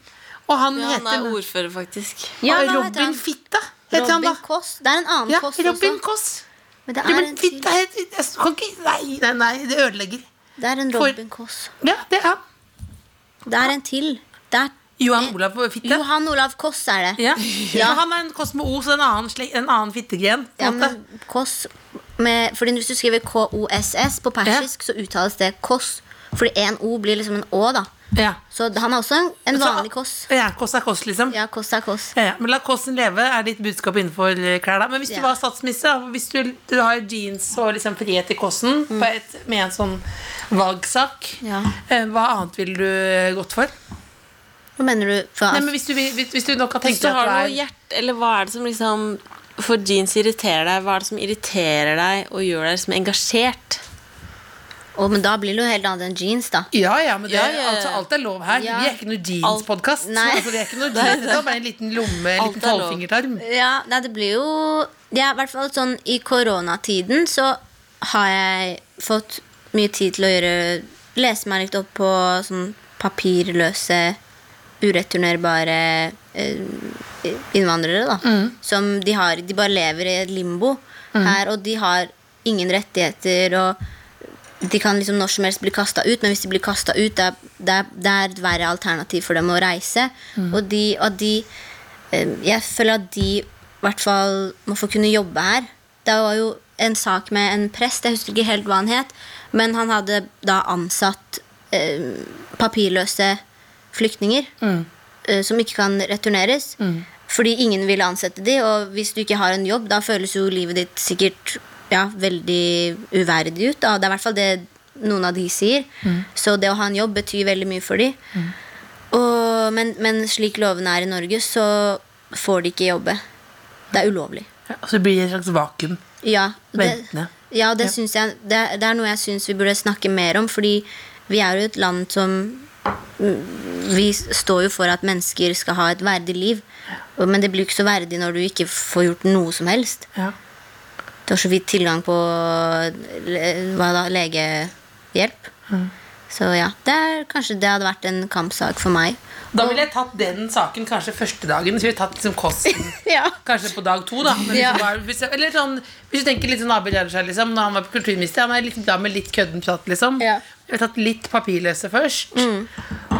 [SPEAKER 4] Og han
[SPEAKER 3] Ja, han
[SPEAKER 4] heter
[SPEAKER 3] er ordfører, faktisk.
[SPEAKER 5] Ja, hva heter han?
[SPEAKER 4] Robin Fitta. Heter han
[SPEAKER 5] Robin
[SPEAKER 4] da?
[SPEAKER 5] Koss. Det er en annen
[SPEAKER 4] Ja,
[SPEAKER 5] Koss
[SPEAKER 4] Robin
[SPEAKER 5] også.
[SPEAKER 4] Koss.
[SPEAKER 5] Men det
[SPEAKER 4] Ja,
[SPEAKER 5] er
[SPEAKER 4] men
[SPEAKER 5] en, til.
[SPEAKER 4] fitta het jeg kan ikke- Nei, nei, nei, det ødelegger.
[SPEAKER 5] det er en
[SPEAKER 4] For-
[SPEAKER 5] Robin Koss.
[SPEAKER 4] Ja, det er han.
[SPEAKER 5] Det er en til. Det er
[SPEAKER 4] Johan Olav Fitte.
[SPEAKER 5] Johan Olav Koss er det.
[SPEAKER 4] Ja. Men Han er en kosmo, så en annen, sle- en annen fittegren. på
[SPEAKER 5] Ja,
[SPEAKER 4] en måte.
[SPEAKER 5] men Koss med, Fordi hvis du skriver K-O-S-S på persisk, så uttales det Koss. Fordi en O blir liksom en Å, da.
[SPEAKER 4] Ja.
[SPEAKER 5] Så han er også en
[SPEAKER 4] Så-
[SPEAKER 5] vanlig koss.
[SPEAKER 4] Ja, koss er koss, liksom. Ja.
[SPEAKER 5] Ja, koss er koss.
[SPEAKER 4] Ja, Men la kossen leve, er ditt budskap innenfor eh, klær. da Men hvis du
[SPEAKER 5] Ja.
[SPEAKER 4] var statsminister, da, hvis du, du har jeans og liksom frihet i kossen på et, med en sånn valgsak,
[SPEAKER 5] Ja.
[SPEAKER 4] eh, hva annet ville du eh, gått for?
[SPEAKER 5] Hva mener du? For,
[SPEAKER 4] Nei, men hvis du, vil- hvis, hvis du nok har
[SPEAKER 3] Hvis
[SPEAKER 4] tenkt
[SPEAKER 3] du
[SPEAKER 4] deg
[SPEAKER 3] har
[SPEAKER 4] at
[SPEAKER 3] noe
[SPEAKER 4] du er
[SPEAKER 3] hjerte, eller hva er det som liksom For jeans irriterer deg, hva er det som irriterer deg og gjør deg liksom engasjert?
[SPEAKER 5] Å, men da blir det jo helt annet enn jeans, da.
[SPEAKER 4] ja, ja, men det,
[SPEAKER 3] Ja, ja, ja.
[SPEAKER 4] Altså, alt er lov her.
[SPEAKER 5] Ja.
[SPEAKER 4] Vi er ikke noe jeans-podkast.
[SPEAKER 5] Alt- Nei.
[SPEAKER 4] Altså, vi er ikke noe jeans, det er bare en liten lomme, en
[SPEAKER 3] Alt
[SPEAKER 4] liten
[SPEAKER 3] er lov.
[SPEAKER 4] tolvfingertarm.
[SPEAKER 5] Ja, nei, det blir jo Det er i hvert fall sånn I koronatiden så har jeg fått mye tid til å gjøre Lese meg litt opp på sånn papirløse, ureturnerbare eh, innvandrere, da. Som de har De bare lever i et limbo her, og de har ingen rettigheter og de kan liksom når som helst bli kasta ut, men hvis de blir kasta ut, det er, det, er, det er et verre alternativ for dem å reise. Og de, og de eh, Jeg føler at de i hvert fall må få kunne jobbe her. Det var jo en sak med en prest, jeg husker ikke helt hva han het, men han hadde da ansatt eh, papirløse flyktninger eh, som ikke kan returneres. Fordi ingen ville ansette de, og hvis du ikke har en jobb, da føles jo livet ditt sikkert ja, veldig uverdig ut. Da. Det er i hvert fall det noen av de sier. Så det å ha en jobb betyr veldig mye for de. Og, men, men slik lovene er i Norge, så får de ikke jobbe. Det er ulovlig.
[SPEAKER 4] Ja, Og så blir det et slags vakuum.
[SPEAKER 5] Ja,
[SPEAKER 4] Ventende.
[SPEAKER 5] ja, det, Synes jeg, det, det er noe jeg syns vi burde snakke mer om, fordi vi er jo et land som mm, Vi står jo for at mennesker skal ha et verdig liv, og- men det blir jo ikke så verdig når du ikke får gjort noe som helst.
[SPEAKER 4] Ja.
[SPEAKER 5] Du har så vidt tilgang på le- hva da, legehjelp.
[SPEAKER 4] Mm.
[SPEAKER 5] Så ja, det er, kanskje det hadde vært en kampsak for meg.
[SPEAKER 4] Da ville jeg tatt den saken kanskje første dagen. Så ville jeg tatt liksom kosten
[SPEAKER 5] Ja.
[SPEAKER 4] Kanskje på dag to, da. Men
[SPEAKER 5] Ja.
[SPEAKER 4] liksom, bare- hvis, eller sånn, hvis du tenker litt sånn Abid Raja, liksom, når han var på kulturminister, han er litt da med litt kødden prat, liksom.
[SPEAKER 5] Ja. Mm.
[SPEAKER 4] Jeg har tatt litt papirløse først,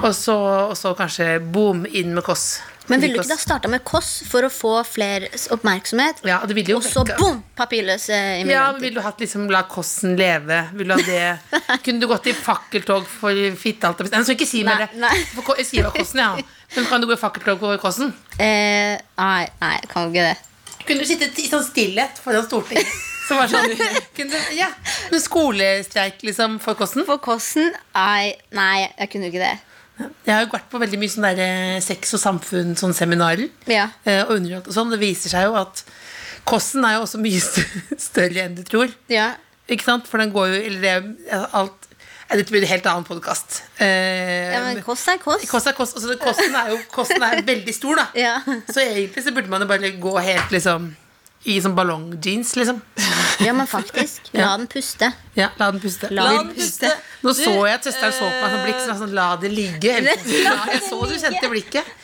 [SPEAKER 4] og, så, og så kanskje boom, inn med Kåss.
[SPEAKER 5] Men ville du ikke da starta med KOS for å få flere oppmerksomhet?
[SPEAKER 4] Ja, det ville jo
[SPEAKER 5] Og så
[SPEAKER 4] vekke-
[SPEAKER 5] boom! Papirløse
[SPEAKER 4] Ja,
[SPEAKER 5] immigranter.
[SPEAKER 4] men ville du hatt liksom La Kåssen leve? Ville du ha det? Kunne du gått i fakkeltog for fitte alt det Nei, jeg skal ikke si mer
[SPEAKER 5] Nei,
[SPEAKER 4] det.
[SPEAKER 5] nei.
[SPEAKER 4] For Kå- Jeg sier hva Kåssen, ja. Men kan du gå i fakkeltog for Kåssen?
[SPEAKER 5] Eh, nei, nei, jeg kan ikke det.
[SPEAKER 4] Kunne du sitte i sånn stillhet foran Stortinget? Som var sånn, kunne, du- ja, en skolestreik liksom for Kåssen?
[SPEAKER 5] For kosten? Nei, nei, jeg kunne ikke det.
[SPEAKER 4] Jeg har jo vært på veldig mye sånne der, eh, sex og samfunn sånne seminarer.
[SPEAKER 5] Ja.
[SPEAKER 4] eh, Og underholdt og sånn. Det viser seg jo at kosten er jo også mye stø- større enn du tror.
[SPEAKER 5] Ja.
[SPEAKER 4] Ikke sant? For den går jo Eller det er alt eh, Dette blir en helt annen podkast.
[SPEAKER 5] ja, men kost er kost.
[SPEAKER 4] Eh, Kost er kost, altså det- kosten er jo kosten er veldig stor, da.
[SPEAKER 5] Ja.
[SPEAKER 4] Så egentlig så burde man jo bare gå helt liksom i sånn ballongjeans, liksom.
[SPEAKER 5] Ja, men faktisk. La den puste.
[SPEAKER 4] Ja, la den puste.
[SPEAKER 5] La den
[SPEAKER 3] puste.
[SPEAKER 4] Nå så jeg at søsteren så på meg sånn blikk, så jeg sånn, la det ligge. Ja, jeg så du kjente blikket.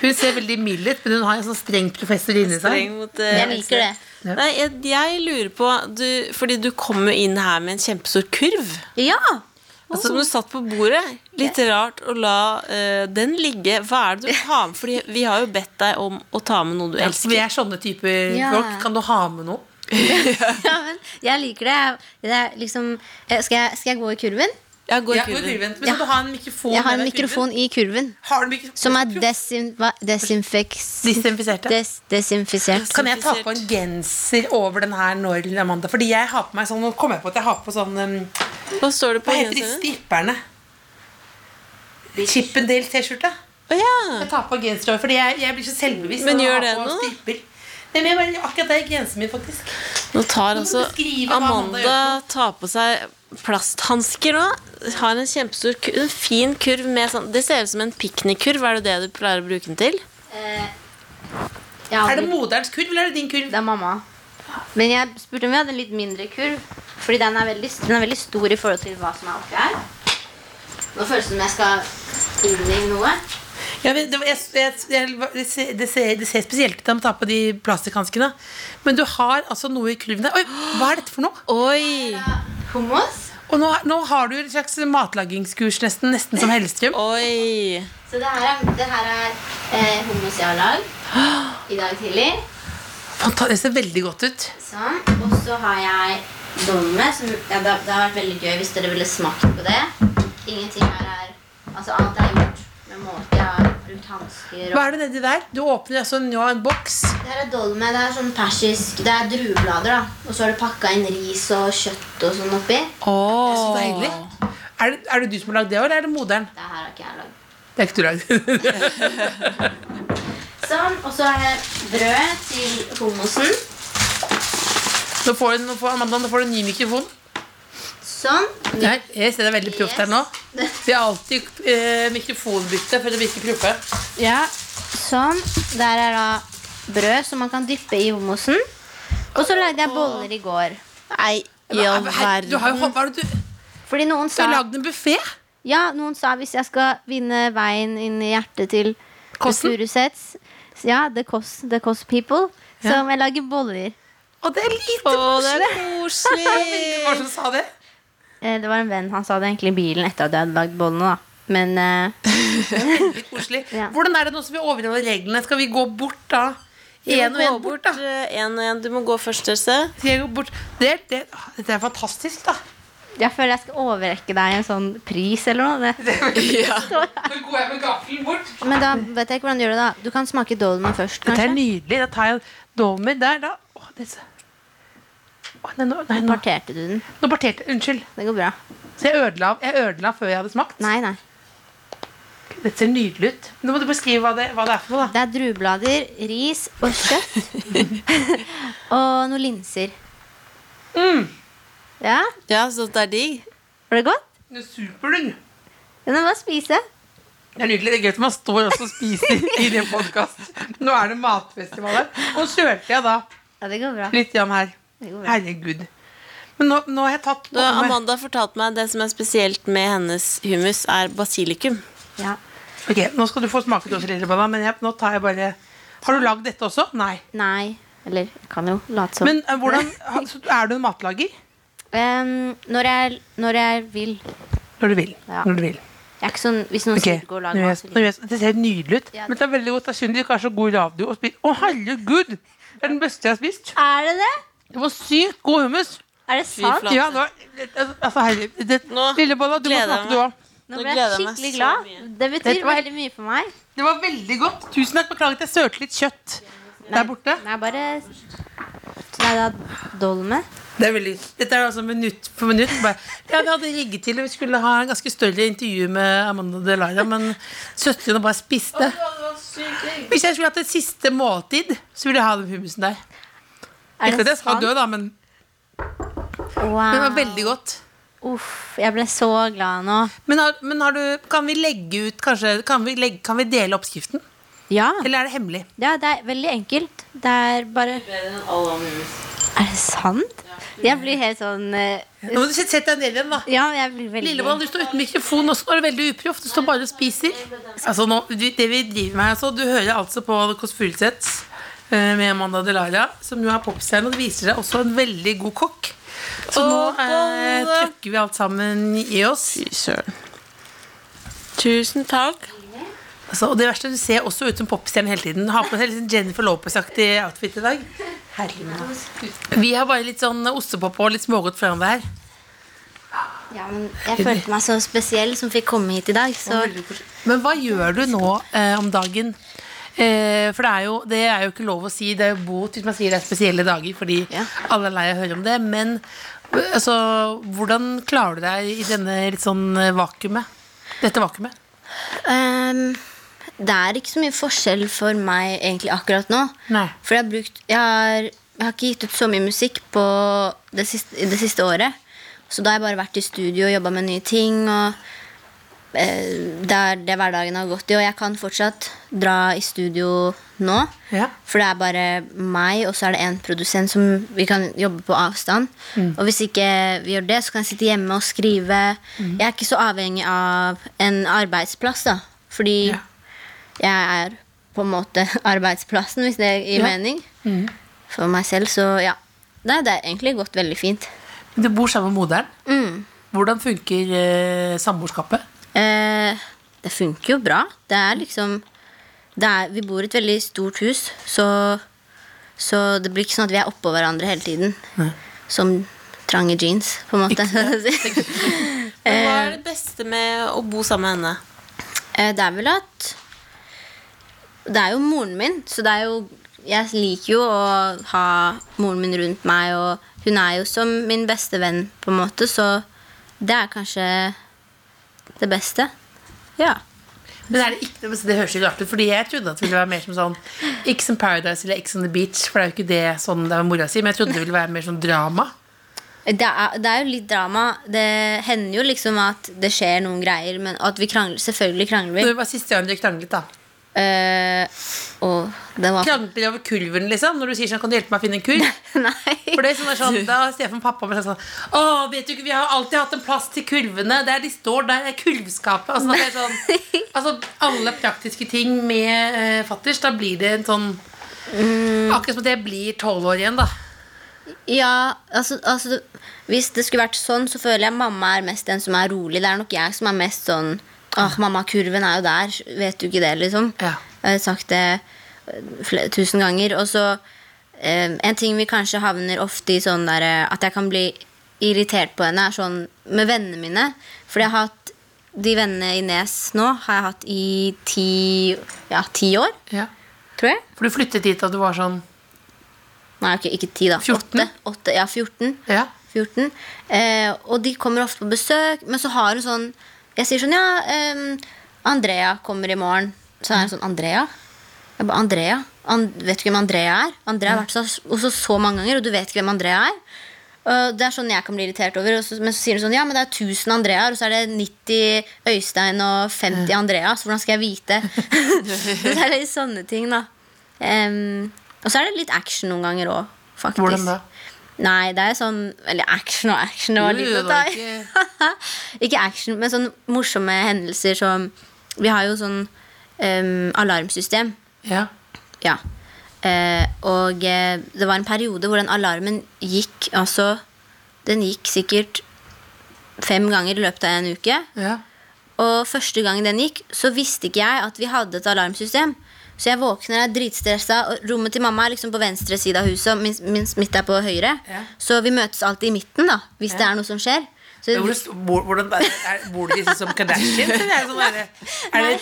[SPEAKER 4] Hun ser veldig mild ut, men hun har en sånn streng professor inni seg.
[SPEAKER 3] Streng mot, eh,
[SPEAKER 5] Jeg liker det.
[SPEAKER 4] Ja.
[SPEAKER 3] Nei, jeg, jeg lurer på du, Fordi du kom jo inn her med en kjempestor kurv.
[SPEAKER 5] Ja!
[SPEAKER 3] Altså, som du satt på bordet. Litt rart å la eh, den ligge. Hva er det du har med? Fordi vi har jo bedt deg om å ta med noe du
[SPEAKER 4] Altså, vi
[SPEAKER 3] elsker.
[SPEAKER 4] er sånne typer
[SPEAKER 5] Ja.
[SPEAKER 4] folk. Kan du ha med noe?
[SPEAKER 5] ja men jeg liker det. det er liksom, eh, skal, jeg, skal jeg gå i kurven?
[SPEAKER 3] Ja, gå i
[SPEAKER 4] Ja,
[SPEAKER 3] kurven.
[SPEAKER 4] kurven. Men så må du ha en mikrofon.
[SPEAKER 5] Jeg har en
[SPEAKER 4] med deg i kurven.
[SPEAKER 5] mikrofon i kurven.
[SPEAKER 4] Har du mikrofon?
[SPEAKER 5] Som er desin, hva, desinfeks...
[SPEAKER 4] Disinfiserte.
[SPEAKER 5] Des, desinfisert.
[SPEAKER 4] Kan jeg ta på en genser over den her når, Amanda? Fordi jeg har på meg sånn, nå kom jeg på at jeg har på sånn um,
[SPEAKER 3] Hva står det på
[SPEAKER 4] Hva heter de
[SPEAKER 3] genseren?
[SPEAKER 4] stripperne? Chippendale-T-skjorte?
[SPEAKER 3] Å ja.
[SPEAKER 4] Jeg tar på genser over, fordi jeg, jeg blir så selvbevisst.
[SPEAKER 3] Men
[SPEAKER 4] når jeg
[SPEAKER 3] gjør
[SPEAKER 4] har
[SPEAKER 3] det
[SPEAKER 4] på
[SPEAKER 3] noe?
[SPEAKER 4] stripper. Nei, men jeg bare, akkurat det er grensen min, faktisk.
[SPEAKER 3] Nå tar
[SPEAKER 4] må
[SPEAKER 3] altså
[SPEAKER 4] beskrive hva Amanda
[SPEAKER 3] Amanda tar på seg plasthansker nå. Har en kjempestor ku- en fin kurv med sånn Det ser ut som en piknikkurv. Er det det du pleier å bruke den til?
[SPEAKER 5] Jeg har
[SPEAKER 4] Er det
[SPEAKER 5] aldri-
[SPEAKER 4] moderens kurv, eller er det din kurv?
[SPEAKER 5] Det er mamma. Men jeg spurte om vi hadde en litt mindre kurv. Fordi den er veldig, den er veldig stor i forhold til hva som er oppi her. Nå føles det som jeg skal inn i noe.
[SPEAKER 4] Ja, men det, jeg, jeg, jeg, det, ser, det, ser, det ser spesielt ut når man tar på de plastikkhanskene. Men du har altså noe i kurven der. Oi, hva er dette for noe?
[SPEAKER 3] Oi!
[SPEAKER 5] Hummus.
[SPEAKER 4] Og nå, nå har du et slags matlagingskurs, nesten, nesten som Hellstrøm.
[SPEAKER 3] Oi!
[SPEAKER 5] Så det her er, det her er eh, hummus jeg har lagd i dag tidlig.
[SPEAKER 4] Fanta- Det ser veldig godt ut.
[SPEAKER 5] Sånn. Og så har jeg domme. Som, ja, det, det har vært veldig gøy hvis dere ville smakt på det. Ingenting her er Altså alt er gjort med måte. Jeg har brukt hansker og
[SPEAKER 4] Hva er det nedi der? Du åpner altså nå en boks.
[SPEAKER 5] Det her er dolme. Det er sånn persisk Det er drueblader, da. Og så har du pakka inn ris og kjøtt og sånn oppi.
[SPEAKER 4] Det er så deilig. Er det, er det du som har lagd det, eller er det moderen?
[SPEAKER 5] Det her har ikke jeg lagd.
[SPEAKER 4] Det er ikke du lagd.
[SPEAKER 5] Sånn. Og så er det brød til hummusen.
[SPEAKER 4] nå får du, nå får, Amanda, nå får du en ny mikrofon.
[SPEAKER 5] Sånn.
[SPEAKER 4] Nei, jeg ser det er veldig proft her nå. Vi har alltid eh, mikrofonbytte for å virke proffe.
[SPEAKER 5] Ja, sånn. Der er da brød som man kan dyppe i hummusen. Og så lagde jeg boller i går.
[SPEAKER 3] Nei, i all
[SPEAKER 4] Her- eh, Du har jo
[SPEAKER 3] verden.
[SPEAKER 4] hva er det du,
[SPEAKER 5] Fordi noen
[SPEAKER 4] du
[SPEAKER 5] sa
[SPEAKER 4] har lagd en buffé.
[SPEAKER 5] Ja, noen sa hvis jeg skal vinne veien inn i hjertet til
[SPEAKER 4] Kossen?
[SPEAKER 5] Furuseths Ja, The Kåss the Kåss People. Så må jeg lage boller.
[SPEAKER 4] Og det er lite
[SPEAKER 3] Å, det er
[SPEAKER 4] koselig. Hvem var
[SPEAKER 3] koselig!
[SPEAKER 4] det som sa det?
[SPEAKER 5] Eh, Det var en venn. Han sa det egentlig i bilen etter at jeg hadde lagd bollene. da Men eh,
[SPEAKER 4] Litt koselig.
[SPEAKER 5] Ja.
[SPEAKER 4] Hvordan er det nå som vi overholder reglene? Skal vi gå bort, da?
[SPEAKER 3] Du må
[SPEAKER 4] En og
[SPEAKER 3] gå
[SPEAKER 4] en bort, da.
[SPEAKER 3] eh, En og en. Du må gå først, Else.
[SPEAKER 4] Skal jeg gå bort? Det, det, dette er fantastisk, da.
[SPEAKER 5] jeg føler jeg skal overrekke deg en sånn pris eller noe. Det.
[SPEAKER 4] Nå går jeg med gaffelen bort.
[SPEAKER 5] Men da vet jeg ikke hvordan du gjør det. da Du kan smake dolmen først,
[SPEAKER 4] Dette er
[SPEAKER 5] kanskje.
[SPEAKER 4] nydelig. Da tar jeg dolmer der, da. Å, det er så- Å, nei, nå, nei, nå,
[SPEAKER 5] Parterte du den?
[SPEAKER 4] nå parterte Unnskyld.
[SPEAKER 5] Det går bra.
[SPEAKER 4] Så jeg ødela, jeg ødela før jeg hadde smakt.
[SPEAKER 5] Nei, nei.
[SPEAKER 4] Dette ser nydelig ut. Nå må du beskrive hva det, hva det er for noe, da.
[SPEAKER 5] Det er drueblader, ris og kjøtt. og noen linser.
[SPEAKER 4] Mm.
[SPEAKER 5] Ja,
[SPEAKER 3] Ja, så det er digg.
[SPEAKER 5] var det godt?
[SPEAKER 4] Det er Superdung.
[SPEAKER 5] Ja, men bare spise.
[SPEAKER 4] Det er nydelig. Det er gøy at man står også og spiser i det podkast. Nå er det matfestival her. Og så kjørte jeg da
[SPEAKER 5] Ja, det går bra.
[SPEAKER 4] litt grann her.
[SPEAKER 5] Det går bra.
[SPEAKER 4] Herregud. Men nå, nå har jeg tatt
[SPEAKER 3] Du, Amanda fortalte meg det som er spesielt med hennes hummus, er basilikum.
[SPEAKER 5] Ja.
[SPEAKER 4] Ok, Nå skal du få smake til oss, Lilleballa, men jeg, nå tar jeg bare Har du lagd dette også? Nei.
[SPEAKER 5] Nei. Eller jeg kan jo late som.
[SPEAKER 4] Men eh, hvordan ha- så Er du en matlager?
[SPEAKER 5] Ehm, når, jeg, når jeg vil.
[SPEAKER 4] Når du vil.
[SPEAKER 5] Ja.
[SPEAKER 4] Når du vil.
[SPEAKER 5] Jeg er ikke sånn, hvis noen
[SPEAKER 4] Ok,
[SPEAKER 5] sier gå og lag
[SPEAKER 4] nå
[SPEAKER 5] mat,
[SPEAKER 4] gjør
[SPEAKER 5] så
[SPEAKER 4] jeg- nå
[SPEAKER 5] liker jeg
[SPEAKER 4] gjør jeg- Det ser helt nydelig ut.
[SPEAKER 5] Ja.
[SPEAKER 4] Men det er veldig godt. Det er synd de ikke har så god radio å spise. Å, herregud! Det er den beste jeg har spist.
[SPEAKER 5] det. Er det det?
[SPEAKER 4] Det var sykt god hummus.
[SPEAKER 5] Er det sant?
[SPEAKER 3] flate.
[SPEAKER 4] Ja, det var Altså, herre det-
[SPEAKER 3] Nå
[SPEAKER 4] Lillebolla, du må
[SPEAKER 3] gleder jeg
[SPEAKER 4] smake, du
[SPEAKER 3] meg.
[SPEAKER 4] òg.
[SPEAKER 5] Nå
[SPEAKER 3] Nå
[SPEAKER 5] ble jeg
[SPEAKER 3] gleder jeg meg
[SPEAKER 5] skikkelig
[SPEAKER 3] så
[SPEAKER 5] glad.
[SPEAKER 3] mye.
[SPEAKER 5] Det
[SPEAKER 4] Dette
[SPEAKER 5] betyr
[SPEAKER 4] var-
[SPEAKER 5] veldig mye for meg.
[SPEAKER 4] Det var veldig godt. Tusen takk. Beklager at jeg sølte litt kjøtt der borte.
[SPEAKER 5] Nei, bare Nei, det er dolme.
[SPEAKER 4] Det er veldig, dette er altså minutt for minutt. Bare, ja, det hadde rigget til, og vi skulle ha en ganske større intervju med Amanda Delara, men søstrene bare spiste. Hvis jeg skulle hatt et siste måltid, så ville jeg ha den hummusen der.
[SPEAKER 5] Er
[SPEAKER 4] Ikke at
[SPEAKER 5] det
[SPEAKER 4] jeg skal dø, da, men men det var
[SPEAKER 5] Wow.
[SPEAKER 4] veldig godt.
[SPEAKER 5] Uff, jeg ble så glad nå.
[SPEAKER 4] Men, har, men har du, kan vi legge ut kanskje, kan, vi legge, kan vi dele oppskriften?
[SPEAKER 5] Ja.
[SPEAKER 4] Eller er det hemmelig?
[SPEAKER 5] ja, det er veldig enkelt. Det er bare Er det sant? Jeg blir helt sånn eh,
[SPEAKER 4] Nå må du sette sette deg ned igjen, da.
[SPEAKER 5] Ja, jeg blir veldig
[SPEAKER 4] Lillebolla, du står uten mikrofon også. Nå er det veldig uproft. Du står bare og spiser. Altså, nå, vi- det vi driver med her, altså, Du hører altså på Kåss Furuseth eh, med Amanda Delara, som jo er popstjerne, og det viser seg også en veldig god kokk. Så nå eh, trykker vi alt sammen i oss.
[SPEAKER 3] Fy søren. Tusen takk.
[SPEAKER 4] Altså, og det verste, du ser også ut som popstjerne hele tiden. Du har på deg litt sånn Jennifer Lopez-aktig outfit i dag. Herregud. Vi har bare litt sånn ostepop og litt smågodt foran deg her.
[SPEAKER 5] Ja, men jeg følte meg så spesiell som fikk komme hit i dag, så
[SPEAKER 4] Men hva gjør du nå eh, om dagen? Eh, for det er, jo, det er jo ikke lov å si. Det er jo bot hvis man sier det er spesielle dager, fordi
[SPEAKER 5] Ja.
[SPEAKER 4] alle er lei av å høre om det. Men eh, altså, hvordan klarer du deg i denne litt sånn eh, vakuumet? Dette vakuumet?
[SPEAKER 5] Ehm, det er ikke så mye forskjell for meg egentlig akkurat nå.
[SPEAKER 4] Nei.
[SPEAKER 5] For jeg har brukt jeg har, jeg har ikke gitt ut så mye musikk på det siste, i det siste året. Så da har jeg bare vært i studio og jobba med nye ting. Og eh, det er det hverdagen har gått i. Og jeg kan fortsatt dra i studio nå.
[SPEAKER 4] Ja.
[SPEAKER 5] For det er bare meg, og så er det en produsent som vi kan jobbe på avstand.
[SPEAKER 4] Mm.
[SPEAKER 5] Og hvis ikke vi gjør det, så kan jeg sitte hjemme og skrive.
[SPEAKER 4] Mm.
[SPEAKER 5] Jeg er ikke så avhengig av en arbeidsplass, da. Fordi
[SPEAKER 4] Ja.
[SPEAKER 5] jeg er på en måte arbeidsplassen, hvis det gir
[SPEAKER 4] Ja. Mm.
[SPEAKER 5] mening. For meg selv, så ja. Nei, det er egentlig gått veldig fint.
[SPEAKER 4] Men du bor sammen med moderen.
[SPEAKER 5] Mm.
[SPEAKER 4] Hvordan funker eh, samboerskapet?
[SPEAKER 5] Eh, det funker jo bra. Det er liksom det er, Vi bor i et veldig stort hus, så, så det blir ikke sånn at vi er oppå hverandre hele tiden. Som trange jeans, på en måte.
[SPEAKER 3] Eh, Men Hva er det beste med å bo sammen med henne?
[SPEAKER 5] Eh, Det er vel at Det er jo moren min, så det er jo Jeg liker jo å ha moren min rundt meg, og hun er jo som min beste venn, på en måte, så det er kanskje det beste. Ja.
[SPEAKER 4] Men er det, ikke, men det høres jo rart ut, Fordi jeg trodde at det ville være mer som sånn X on Paradise eller X on the Beach. For det er jo ikke det sånn det er mora si, men jeg trodde det ville være mer sånn drama.
[SPEAKER 5] Det er, det er jo litt drama. Det hender jo liksom at det skjer noen greier, men at vi krangler. Selvfølgelig krangler vi.
[SPEAKER 4] Når var siste gang dere kranglet, da?
[SPEAKER 5] Eh, og det var
[SPEAKER 4] Kranglet dere over kurven, liksom? Når du sier sånn, kan du hjelpe meg å finne en kurv?
[SPEAKER 5] Nei.
[SPEAKER 4] For det er sånn, det er sånn Da Stefan pappa meg sånn Å, vet du ikke, vi har jo alltid hatt en plass til kurvene. Der de står, der er kurvskapet. Altså, når det er sånn, altså alle praktiske ting med eh, fatters. Da blir det en sånn Akkurat som at jeg blir tolv år igjen, da.
[SPEAKER 5] Ja, altså, altså det- Hvis det skulle vært sånn, så føler jeg mamma er mest den som er rolig. Det er nok jeg som er mest sånn Åh, mamma, kurven er jo der. Vet du ikke det, liksom?
[SPEAKER 4] Ja.
[SPEAKER 5] Jeg har sagt det eh, fle- tusen ganger. Og så eh, En ting vi kanskje havner ofte i sånn der eh, At jeg kan bli irritert på henne, er sånn med vennene mine. For jeg har hatt de vennene i Nes nå har jeg hatt i ti, ja, ti år,
[SPEAKER 4] Ja.
[SPEAKER 5] tror jeg.
[SPEAKER 4] For du flyttet dit da du var sånn
[SPEAKER 5] Nei, ok, ikke ti, da.
[SPEAKER 4] 14?
[SPEAKER 5] Åtte. Åtte, ja, 14.
[SPEAKER 4] Ja.
[SPEAKER 5] 14. Eh, og de kommer ofte på besøk, men så har hun sånn Jeg sier sånn, ja, ehm, Andrea kommer i morgen. Så er hun sånn, Andrea? Jeg bare, Andrea? An vet du ikke hvem Andrea er? Andrea har vært så, hos oss så mange ganger, og du vet ikke hvem Andrea er? Og det er sånn jeg kan bli irritert over. Og så, men så sier hun sånn, ja, men det er 1000 Andreaer, og så er det 90 Øystein og 50 Andrea, så hvordan skal jeg vite? så det er litt sånne ting, da. Ehm, og så er det litt action noen ganger òg, faktisk.
[SPEAKER 4] Hvordan da?
[SPEAKER 5] Nei, det er sånn Eller action og action. Det var
[SPEAKER 4] Jo,
[SPEAKER 5] litt
[SPEAKER 4] jo,
[SPEAKER 5] å
[SPEAKER 4] det
[SPEAKER 5] ta
[SPEAKER 4] var
[SPEAKER 5] i. Ikke action, men sånn morsomme hendelser som Vi har jo sånn ehm, alarmsystem.
[SPEAKER 4] Ja.
[SPEAKER 5] Ja. Eh, og eh, det var en periode hvor den alarmen gikk Altså, den gikk sikkert fem ganger i løpet av en uke.
[SPEAKER 4] ja.
[SPEAKER 5] Og første gang den gikk, så visste ikke jeg at vi hadde et alarmsystem. Så jeg våkner jeg er dritstressa, og rommet til mamma er liksom på venstre side av huset. Og min, min, mitt er på høyre.
[SPEAKER 4] Ja.
[SPEAKER 5] Så vi møtes alltid i midten, da, hvis det er noe som skjer. Så,
[SPEAKER 4] Hvor, hvor, hvordan er, er, bor de liksom som Kardashians? Eller er det sånn derre- er det,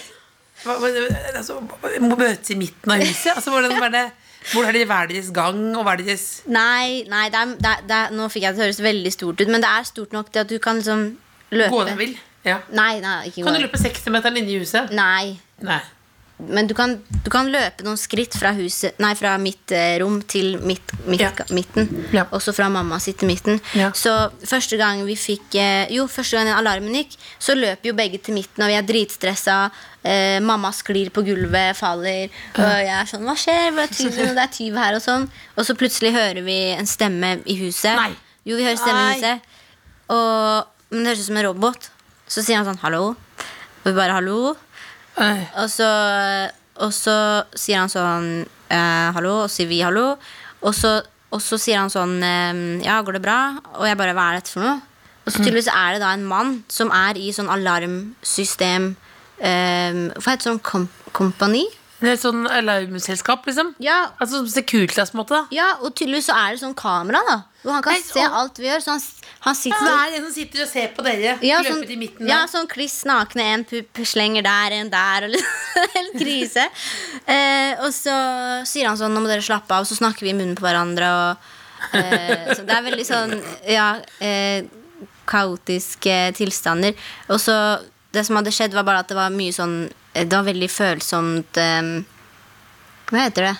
[SPEAKER 4] hva, hva- altså, Må møtes i midten av huset? Altså, hvordan er det, hvor er det hver deres gang, og hver deres
[SPEAKER 5] nei, nei det er, det er, det er, nå fikk jeg det til å høres veldig stort ut, men det er stort nok til at du kan liksom løpe.
[SPEAKER 4] gå deg vill? Ja.
[SPEAKER 5] Nei, nei, ikke
[SPEAKER 4] Kan
[SPEAKER 5] gå
[SPEAKER 4] du
[SPEAKER 5] deg.
[SPEAKER 4] løpe 60-meteren inne i huset?
[SPEAKER 5] Nei.
[SPEAKER 4] Nei.
[SPEAKER 5] Men du kan, du kan løpe noen skritt fra, huset, nei, fra mitt eh, rom til mitt, mitt,
[SPEAKER 4] Ja.
[SPEAKER 5] midten.
[SPEAKER 4] Ja.
[SPEAKER 5] Også fra mamma sitt i midten.
[SPEAKER 4] Ja.
[SPEAKER 5] Så første gang vi fikk eh, Jo, første gang den alarmen gikk, så løper jo begge til midten, og vi er dritstressa. Eh, mamma sklir på gulvet, faller, og jeg er sånn Hva skjer? Hva er tyven? Og Det er tyv her, og sånn. Og så plutselig hører vi en stemme i huset.
[SPEAKER 4] Nei.
[SPEAKER 5] Jo, vi hører stemme i huset. Og, men det høres ut som en robot. Så sier han sånn 'hallo'. Og vi bare 'hallo'.
[SPEAKER 4] Nei.
[SPEAKER 5] Og så, og så sier han sånn eh, Hallo, og så sier vi hallo. Og så, og så sier han sånn eh, Ja, går det bra? Og jeg bare Hva er dette for noe? Og så tydeligvis er det da en mann som er i sånn alarmsystem eh, Hva heter det sånn kom kompani?
[SPEAKER 4] Det er et sånn alarmselskap, liksom?
[SPEAKER 5] Ja,
[SPEAKER 4] Altså som Securitas, på en måte? da.
[SPEAKER 5] ja, og tydeligvis så er det sånn kamera, da. Hvor han kan
[SPEAKER 4] Nei,
[SPEAKER 5] se
[SPEAKER 4] og-
[SPEAKER 5] alt vi gjør. Så han, han sitter
[SPEAKER 4] Så det er en som sitter og ser på dere
[SPEAKER 5] ja,
[SPEAKER 4] løpe
[SPEAKER 5] sånn,
[SPEAKER 4] til midten?
[SPEAKER 5] ja,
[SPEAKER 4] der.
[SPEAKER 5] sånn kliss nakne. En pupp slenger der, en der. Og litt- Helt krise. Eh, og så sier han sånn Nå må dere slappe av. Så snakker vi i munnen på hverandre. Og, eh, så det er veldig sånn Ja, eh, kaotiske tilstander. Og så Det som hadde skjedd, var bare at det var mye sånn eh, Det var veldig følsomt eh, Hva heter det?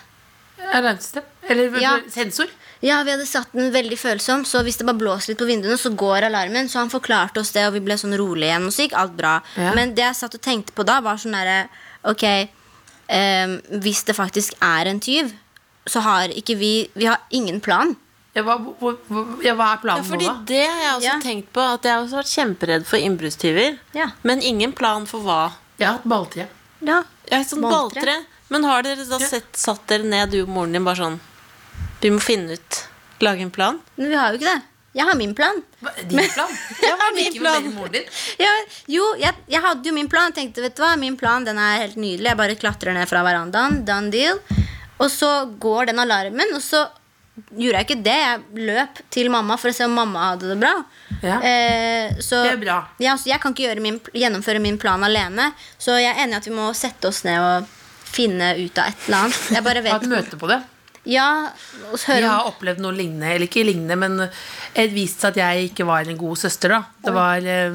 [SPEAKER 4] Alarmsystem? Eller
[SPEAKER 5] Ja.
[SPEAKER 4] sensor?
[SPEAKER 5] Ja, vi hadde satt den veldig følsom, så hvis det bare blåser litt på vinduene, så går alarmen. Så han forklarte oss det, og vi ble sånn rolig igjen, og så gikk alt bra.
[SPEAKER 4] Ja.
[SPEAKER 5] Men det jeg satt og tenkte på da, var sånn derre Ok, ehm, hvis det faktisk er en tyv, så har ikke vi Vi har ingen plan.
[SPEAKER 4] Ja, hva, hvor, hvor, ja, hva er
[SPEAKER 3] Ja,
[SPEAKER 4] planen
[SPEAKER 3] fordi
[SPEAKER 4] nå, da?
[SPEAKER 3] det har jeg også
[SPEAKER 5] Ja.
[SPEAKER 3] tenkt på. At jeg har også vært kjemperedd for innbruddstyver.
[SPEAKER 5] Ja.
[SPEAKER 3] Men ingen plan for hva.
[SPEAKER 4] Jeg har hatt balltre.
[SPEAKER 5] Ja.
[SPEAKER 3] Jeg er sånn
[SPEAKER 5] Balltre.
[SPEAKER 3] balltre. Men har dere da sett, satt dere ned, du og moren din, bare sånn Vi må finne ut Lage en plan?
[SPEAKER 5] Men vi har jo ikke det. Jeg har min plan.
[SPEAKER 4] Hva- Din plan? Ja,
[SPEAKER 3] hva er din plan?
[SPEAKER 4] Moren din?
[SPEAKER 5] Ja, jo, jeg, jeg hadde jo min plan. Jeg tenkte, vet du hva, min plan den er helt nydelig. Jeg bare klatrer ned fra verandaen. Done deal. Og så går den alarmen, og så gjorde jeg ikke det. Jeg løp til mamma for å se om mamma hadde det bra.
[SPEAKER 4] Ja.
[SPEAKER 5] Eh, så,
[SPEAKER 4] Det er bra.
[SPEAKER 5] Ja, så jeg kan ikke gjøre min, gjennomføre min plan alene, så jeg er enig i at vi må sette oss ned og finne ut av et eller annet. Jeg
[SPEAKER 4] Ha
[SPEAKER 5] bare
[SPEAKER 4] et
[SPEAKER 5] vet
[SPEAKER 4] møte på det.
[SPEAKER 5] Ja, og så
[SPEAKER 4] Jeg
[SPEAKER 5] høre
[SPEAKER 4] har
[SPEAKER 5] om
[SPEAKER 4] opplevd noe lignende, eller ikke lignende, men det viste seg at jeg ikke var en god søster, da. Det var eh,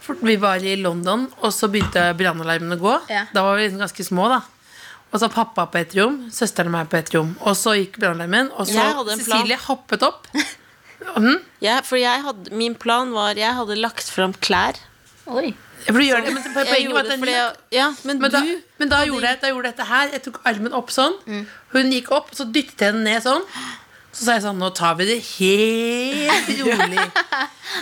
[SPEAKER 4] for Vi var i London, og så begynte brannalarmen å gå.
[SPEAKER 5] Ja.
[SPEAKER 4] Da var vi liksom ganske små, da. Og så var pappa på et rom, søsteren og meg på et rom. Og så gikk brannalarmen, og så
[SPEAKER 3] Jeg hadde en plan.
[SPEAKER 4] Cecilie hoppet opp.
[SPEAKER 3] Jeg, for jeg hadde, min plan var Jeg hadde lagt fram klær.
[SPEAKER 5] Oi.
[SPEAKER 4] For du gjør det, men
[SPEAKER 3] Jeg
[SPEAKER 4] poenget var
[SPEAKER 3] gjorde
[SPEAKER 4] at den
[SPEAKER 3] fordi
[SPEAKER 4] gikk.
[SPEAKER 3] jeg, ja, men,
[SPEAKER 4] Men da,
[SPEAKER 3] du Mm.
[SPEAKER 4] men da, gjorde jeg, da gjorde jeg dette her. Jeg tok armen opp sånn. Hun gikk opp, så dyttet jeg den ned sånn. Så sa jeg sånn Nå tar vi det helt rolig.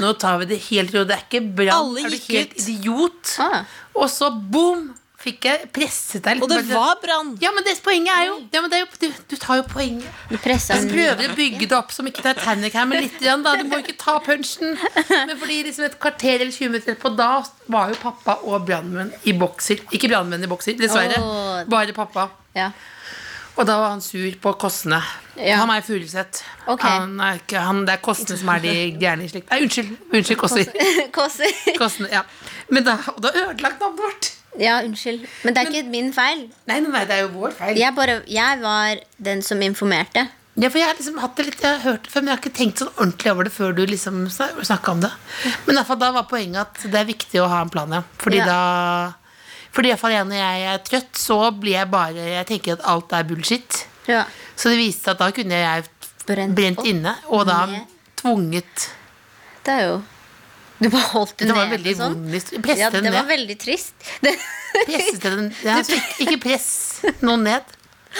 [SPEAKER 4] Nå tar vi det helt rolig. Det er ikke brann.
[SPEAKER 3] Alle
[SPEAKER 4] Er du
[SPEAKER 3] gikk
[SPEAKER 4] helt
[SPEAKER 3] ut.
[SPEAKER 4] idiot?
[SPEAKER 5] Ah.
[SPEAKER 4] Og så boom! Fikk jeg presset deg. litt.
[SPEAKER 3] Og det var brann!
[SPEAKER 4] Ja, men det, poenget er jo, ja, men det er jo du, du tar jo poenget.
[SPEAKER 5] Du pressa
[SPEAKER 4] Jeg
[SPEAKER 5] den.
[SPEAKER 4] prøver å bygge det opp som ikke Titanic her, men litt igjen, da. Du må ikke ta punchen. Men fordi liksom et kvarter eller 20 minutter etterpå, da var jo pappa og brannmenn i bokser. Ikke brannmenn i bokser, dessverre.
[SPEAKER 5] Åh.
[SPEAKER 4] Bare pappa.
[SPEAKER 5] Ja.
[SPEAKER 4] Og da var han sur på Kåssene.
[SPEAKER 5] Ja.
[SPEAKER 4] Han er Furuseth.
[SPEAKER 5] Ok.
[SPEAKER 4] Han er ikke- han- Det er Kåssene som er de gærne i slekt. Nei, unnskyld. Unnskyld, Kåsser.
[SPEAKER 5] Kåser.
[SPEAKER 4] Kåssene, ja. Men da, og da ødelagt navnet vårt.
[SPEAKER 5] Ja, unnskyld. Men det er ikke min feil.
[SPEAKER 4] Nei, nei, nei, det er jo vår feil.
[SPEAKER 5] Jeg, bare, jeg var den som informerte.
[SPEAKER 4] Ja, for jeg har liksom hatt det litt, jeg har hørt det før, men jeg har ikke tenkt sånn ordentlig over det før du liksom snakka om det. Men i hvert fall da var poenget at det er viktig å ha en plan, ja. Fordi
[SPEAKER 5] Ja.
[SPEAKER 4] da Fordi i hvert fall jeg, når jeg er trøtt, så blir jeg bare Jeg tenker at alt er bullshit.
[SPEAKER 5] Ja.
[SPEAKER 4] Så det viste seg at da kunne jeg
[SPEAKER 5] Brent
[SPEAKER 4] brent,
[SPEAKER 5] opp.
[SPEAKER 4] inne, og da
[SPEAKER 5] Ned.
[SPEAKER 4] tvunget
[SPEAKER 5] Det er jo Du bare holdt det
[SPEAKER 4] Det
[SPEAKER 5] nede
[SPEAKER 4] var veldig
[SPEAKER 5] sånn.
[SPEAKER 4] vond historie. Presset
[SPEAKER 5] Ja,
[SPEAKER 4] den
[SPEAKER 5] det
[SPEAKER 4] ned.
[SPEAKER 5] var veldig trist. Det,
[SPEAKER 4] Presset den ja, altså, ikke- Ikke press noen ned,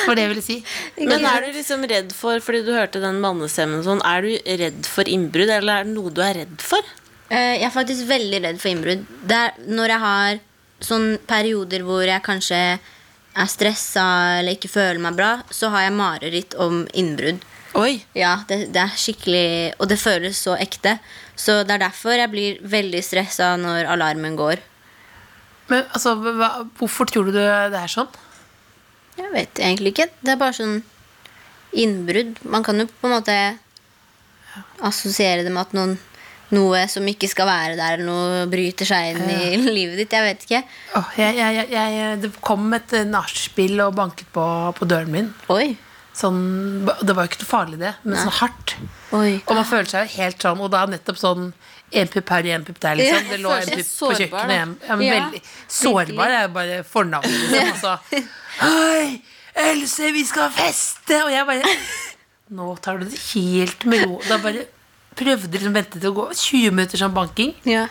[SPEAKER 4] var det jeg ville si.
[SPEAKER 3] Men er du liksom redd for Fordi du hørte den mannestemmen og sånn, er du redd for innbrudd, eller er det noe du er redd for?
[SPEAKER 5] Eh, jeg er faktisk veldig redd for innbrudd. Det er når jeg har sånne perioder hvor jeg kanskje er stressa eller ikke føler meg bra, så har jeg mareritt om innbrudd.
[SPEAKER 3] Oi!
[SPEAKER 5] Ja, det, det er skikkelig Og det føles så ekte. Så det er derfor jeg blir veldig stressa når alarmen går.
[SPEAKER 4] Men altså, hva, hvorfor tror du det er sånn?
[SPEAKER 5] Jeg vet egentlig ikke. Det er bare sånn innbrudd. Man kan jo på en måte assosiere det med at noen, noe som ikke skal være der, eller noe bryter seg inn i livet ditt. Jeg vet ikke.
[SPEAKER 4] Åh, jeg, jeg, jeg, jeg, det kom et eh, nachspiel og banket på, på døren min.
[SPEAKER 5] Oi.
[SPEAKER 4] Sånn, det var jo ikke noe farlig, det, men sånn hardt.
[SPEAKER 5] Oi.
[SPEAKER 4] Og man føler seg jo helt sånn, og da nettopp sånn en pupp her og en pupp der,
[SPEAKER 5] Ja,
[SPEAKER 4] liksom. Det lå
[SPEAKER 3] føler
[SPEAKER 4] en
[SPEAKER 3] seg
[SPEAKER 4] pupp på
[SPEAKER 3] sårbar, da.
[SPEAKER 4] kjøkkenet. Ja, men
[SPEAKER 5] Ja,
[SPEAKER 4] veldig sårbar er jo bare fornavnet, liksom. Og så Hei, Else, vi skal feste! Og jeg bare Nå tar du det helt med ro. Da bare prøvde liksom å vente til å gå 20 minutter sånn banking.
[SPEAKER 5] Ja.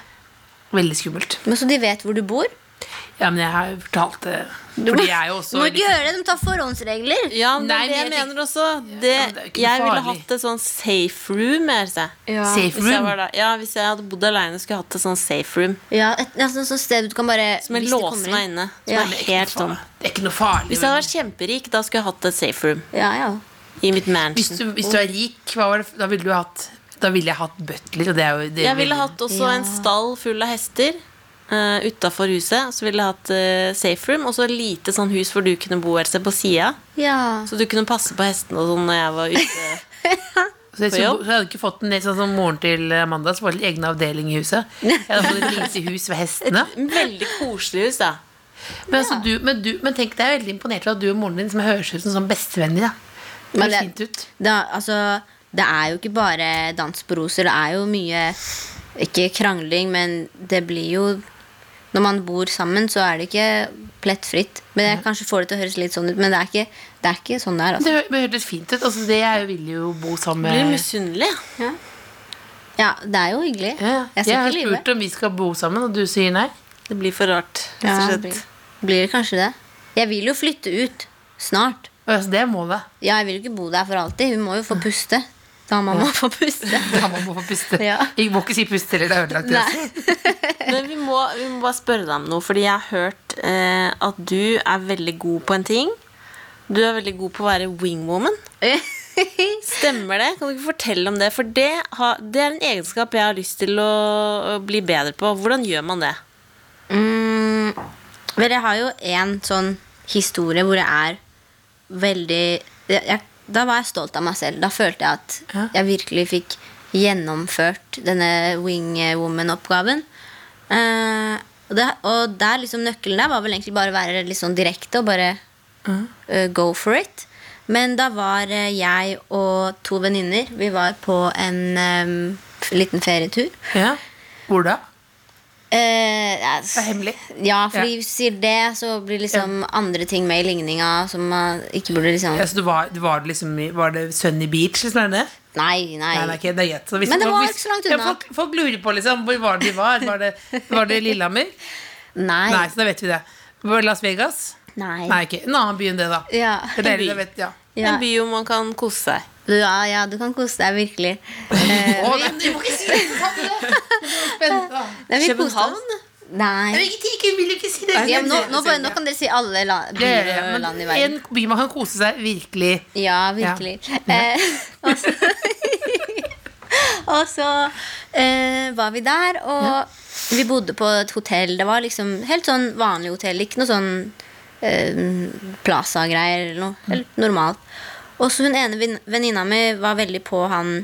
[SPEAKER 4] Veldig skummelt.
[SPEAKER 5] Men Så de vet hvor du bor?
[SPEAKER 4] Ja, men jeg har jo fortalt det. Fordi jeg er jo også
[SPEAKER 5] Du må
[SPEAKER 4] litt-
[SPEAKER 5] ikke gjøre det, de tar forhåndsregler.
[SPEAKER 3] Ja, men
[SPEAKER 4] Nei,
[SPEAKER 3] det er
[SPEAKER 4] men
[SPEAKER 3] det jeg
[SPEAKER 4] jeg
[SPEAKER 3] mener også. Det,
[SPEAKER 4] men det er jo ikke noe
[SPEAKER 3] jeg ville
[SPEAKER 4] farlig.
[SPEAKER 3] hatt et sånn safe room. Jeg, altså.
[SPEAKER 4] Safe
[SPEAKER 3] Hvis jeg,
[SPEAKER 4] room.
[SPEAKER 3] var da, ja, hvis jeg hadde bodd alene, skulle jeg hatt et sånn safe room.
[SPEAKER 5] Ja, et, et, sånt sted du kan bare
[SPEAKER 3] Som jeg
[SPEAKER 5] hvis det
[SPEAKER 3] låser
[SPEAKER 5] kommer
[SPEAKER 3] meg
[SPEAKER 5] inn.
[SPEAKER 3] inne. Som
[SPEAKER 5] Ja.
[SPEAKER 3] er helt sånn.
[SPEAKER 4] Det er ikke noe farlig.
[SPEAKER 3] Hvis jeg hadde vært kjemperik, da skulle jeg hatt et safe room
[SPEAKER 5] Ja, ja.
[SPEAKER 3] i mitt
[SPEAKER 4] Hvis
[SPEAKER 3] mansion.
[SPEAKER 4] du, hvis du er rik, hva var det, da ville du hatt Da ville jeg hatt butler. Og det er jo, det
[SPEAKER 3] Jeg ville hatt også en stall full av hester uh, utafor huset. Så ville jeg hatt eh, safe room, og så lite sånn hus hvor du kunne bo Else, på sida.
[SPEAKER 5] ja.
[SPEAKER 3] Så du kunne passe på hestene og sånn når jeg var ute.
[SPEAKER 4] Så jeg,
[SPEAKER 3] på
[SPEAKER 4] så,
[SPEAKER 3] jobb.
[SPEAKER 4] så jeg hadde ikke fått en del sånn som moren til Amanda, som var litt egen avdeling i huset. Jeg hadde fått et lite hus ved hestene.
[SPEAKER 3] Veldig koselig hus, da.
[SPEAKER 4] Men, altså, du, men, du, men tenk, det er veldig imponert over at du og moren din som høres ut som sånn bestevenner. Da. Det
[SPEAKER 5] Men
[SPEAKER 4] høres
[SPEAKER 5] det-
[SPEAKER 4] fint ut.
[SPEAKER 5] Da, altså, det er jo ikke bare dans på roser. Det er jo mye Ikke krangling, men det blir jo Når man bor sammen, så er det ikke plettfritt. Men jeg kanskje får det til å høres litt sånn ut, men det er ikke, det er ikke sånn det er. Altså.
[SPEAKER 4] Det hø- men det hørtes fint ut. Altså, det jeg vil jo bo sammen
[SPEAKER 3] Blir
[SPEAKER 4] med
[SPEAKER 3] misunnelig.
[SPEAKER 5] Ja, det er jo hyggelig.
[SPEAKER 4] ja,
[SPEAKER 5] Jeg
[SPEAKER 4] Jeg
[SPEAKER 5] skal
[SPEAKER 4] har
[SPEAKER 5] ikke lyve.
[SPEAKER 4] spurt om vi skal bo sammen, og du sier nei.
[SPEAKER 3] Det blir for rart. rett
[SPEAKER 5] Ja,
[SPEAKER 3] og
[SPEAKER 5] det
[SPEAKER 3] slett.
[SPEAKER 5] blir, blir det kanskje det? Jeg vil jo flytte ut snart.
[SPEAKER 4] Og Altså, det er målet.
[SPEAKER 5] Ja, jeg vil jo ikke bo der for alltid. Hun må jo få puste. Da må man få puste.
[SPEAKER 4] Da må man få puste.
[SPEAKER 5] Ja.
[SPEAKER 4] Jeg må ikke si puste eller det er ødelagt.
[SPEAKER 5] Nei.
[SPEAKER 4] Else.
[SPEAKER 3] Men vi må, vi må bare spørre deg om noe, fordi jeg har hørt eh, at du er veldig god på en ting. Du er veldig god på å være wingwoman. Stemmer det? Kan du ikke fortelle om det? For det, har, det er en egenskap jeg har lyst til å, å bli bedre på. Hvordan gjør man det?
[SPEAKER 5] Mm, vel, jeg har jo en sånn historie hvor jeg er veldig jeg, jeg da var jeg stolt av meg selv. Da følte jeg at
[SPEAKER 4] Ja.
[SPEAKER 5] jeg virkelig fikk gjennomført denne wingwoman-oppgaven. Eh, og, det, og der liksom nøkkelen der var vel egentlig bare å være litt sånn direkte og bare eh, go for it. Men da var eh, jeg og to venninner Vi var på en eh, f- liten ferietur.
[SPEAKER 4] Ja. Hvor da?
[SPEAKER 5] Eh, ja,
[SPEAKER 4] Det er hemmelig.
[SPEAKER 5] Ja, fordi hvis du sier det, så blir liksom andre ting med i ligninga som man ikke burde liksom
[SPEAKER 4] Ja, så du var, du var, liksom, i- var det Sunny Beach, liksom? Er det det?
[SPEAKER 5] Nei, nei.
[SPEAKER 4] Nei, nei, ok, det er greit. Så hvis
[SPEAKER 5] Men det
[SPEAKER 4] folk-
[SPEAKER 5] var
[SPEAKER 4] hvis-
[SPEAKER 5] ikke så langt
[SPEAKER 4] Ja,
[SPEAKER 5] unna.
[SPEAKER 4] folk, folk lurer på liksom, hvor var det de var. Var det, var det Lillehammer?
[SPEAKER 5] Nei.
[SPEAKER 4] Nei, så da vet vi det. Var det Las Vegas?
[SPEAKER 5] Nei.
[SPEAKER 4] Nei, ikke en annen by enn det, da.
[SPEAKER 5] Ja.
[SPEAKER 4] Det er deilig, da vet, ja.
[SPEAKER 5] Ja.
[SPEAKER 3] En by hvor man kan kose seg.
[SPEAKER 5] Du, ja, ja, du kan kose deg virkelig. Eh,
[SPEAKER 4] Å, nei, du må ikke si det! Spennende.
[SPEAKER 5] nei, vi koste oss.
[SPEAKER 4] Jeg
[SPEAKER 5] Nei.
[SPEAKER 4] vil ikke si det, jeg vil ikke si det.
[SPEAKER 5] Ja, men nå, nå, bare, nå kan dere si alle la,
[SPEAKER 4] Ja,
[SPEAKER 5] byer
[SPEAKER 4] ja,
[SPEAKER 5] og
[SPEAKER 4] men
[SPEAKER 5] land i verden.
[SPEAKER 4] En by man kan kose seg virkelig.
[SPEAKER 5] Ja, virkelig. Eh, og så, og så eh, var vi der, og vi bodde på et hotell. Det var liksom helt sånn vanlig hotell, ikke noe sånn eh, Plaza-greier eller noe. Helt normalt. Og så hun ene vin- venninna mi var veldig på han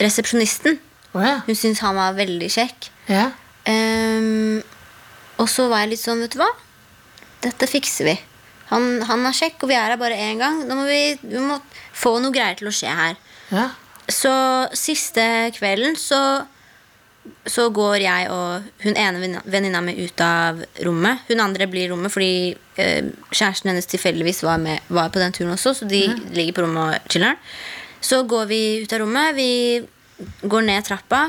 [SPEAKER 5] resepsjonisten.
[SPEAKER 4] Å ja.
[SPEAKER 5] Hun syntes han var veldig kjekk.
[SPEAKER 4] ja.
[SPEAKER 5] Ehm, og så var jeg litt sånn, vet du hva? Dette fikser vi. Han, han er kjekk, og vi er her bare én gang. Nå må vi, vi må få noe greier til å skje her.
[SPEAKER 4] ja.
[SPEAKER 5] Så siste kvelden så, så går jeg og hun ene venn- venninna mi ut av rommet. Hun andre blir i rommet fordi eh, kjæresten hennes tilfeldigvis var, med, var på den turen også, så de ligger på rommet og chiller'n. Så går vi ut av rommet, vi går ned trappa,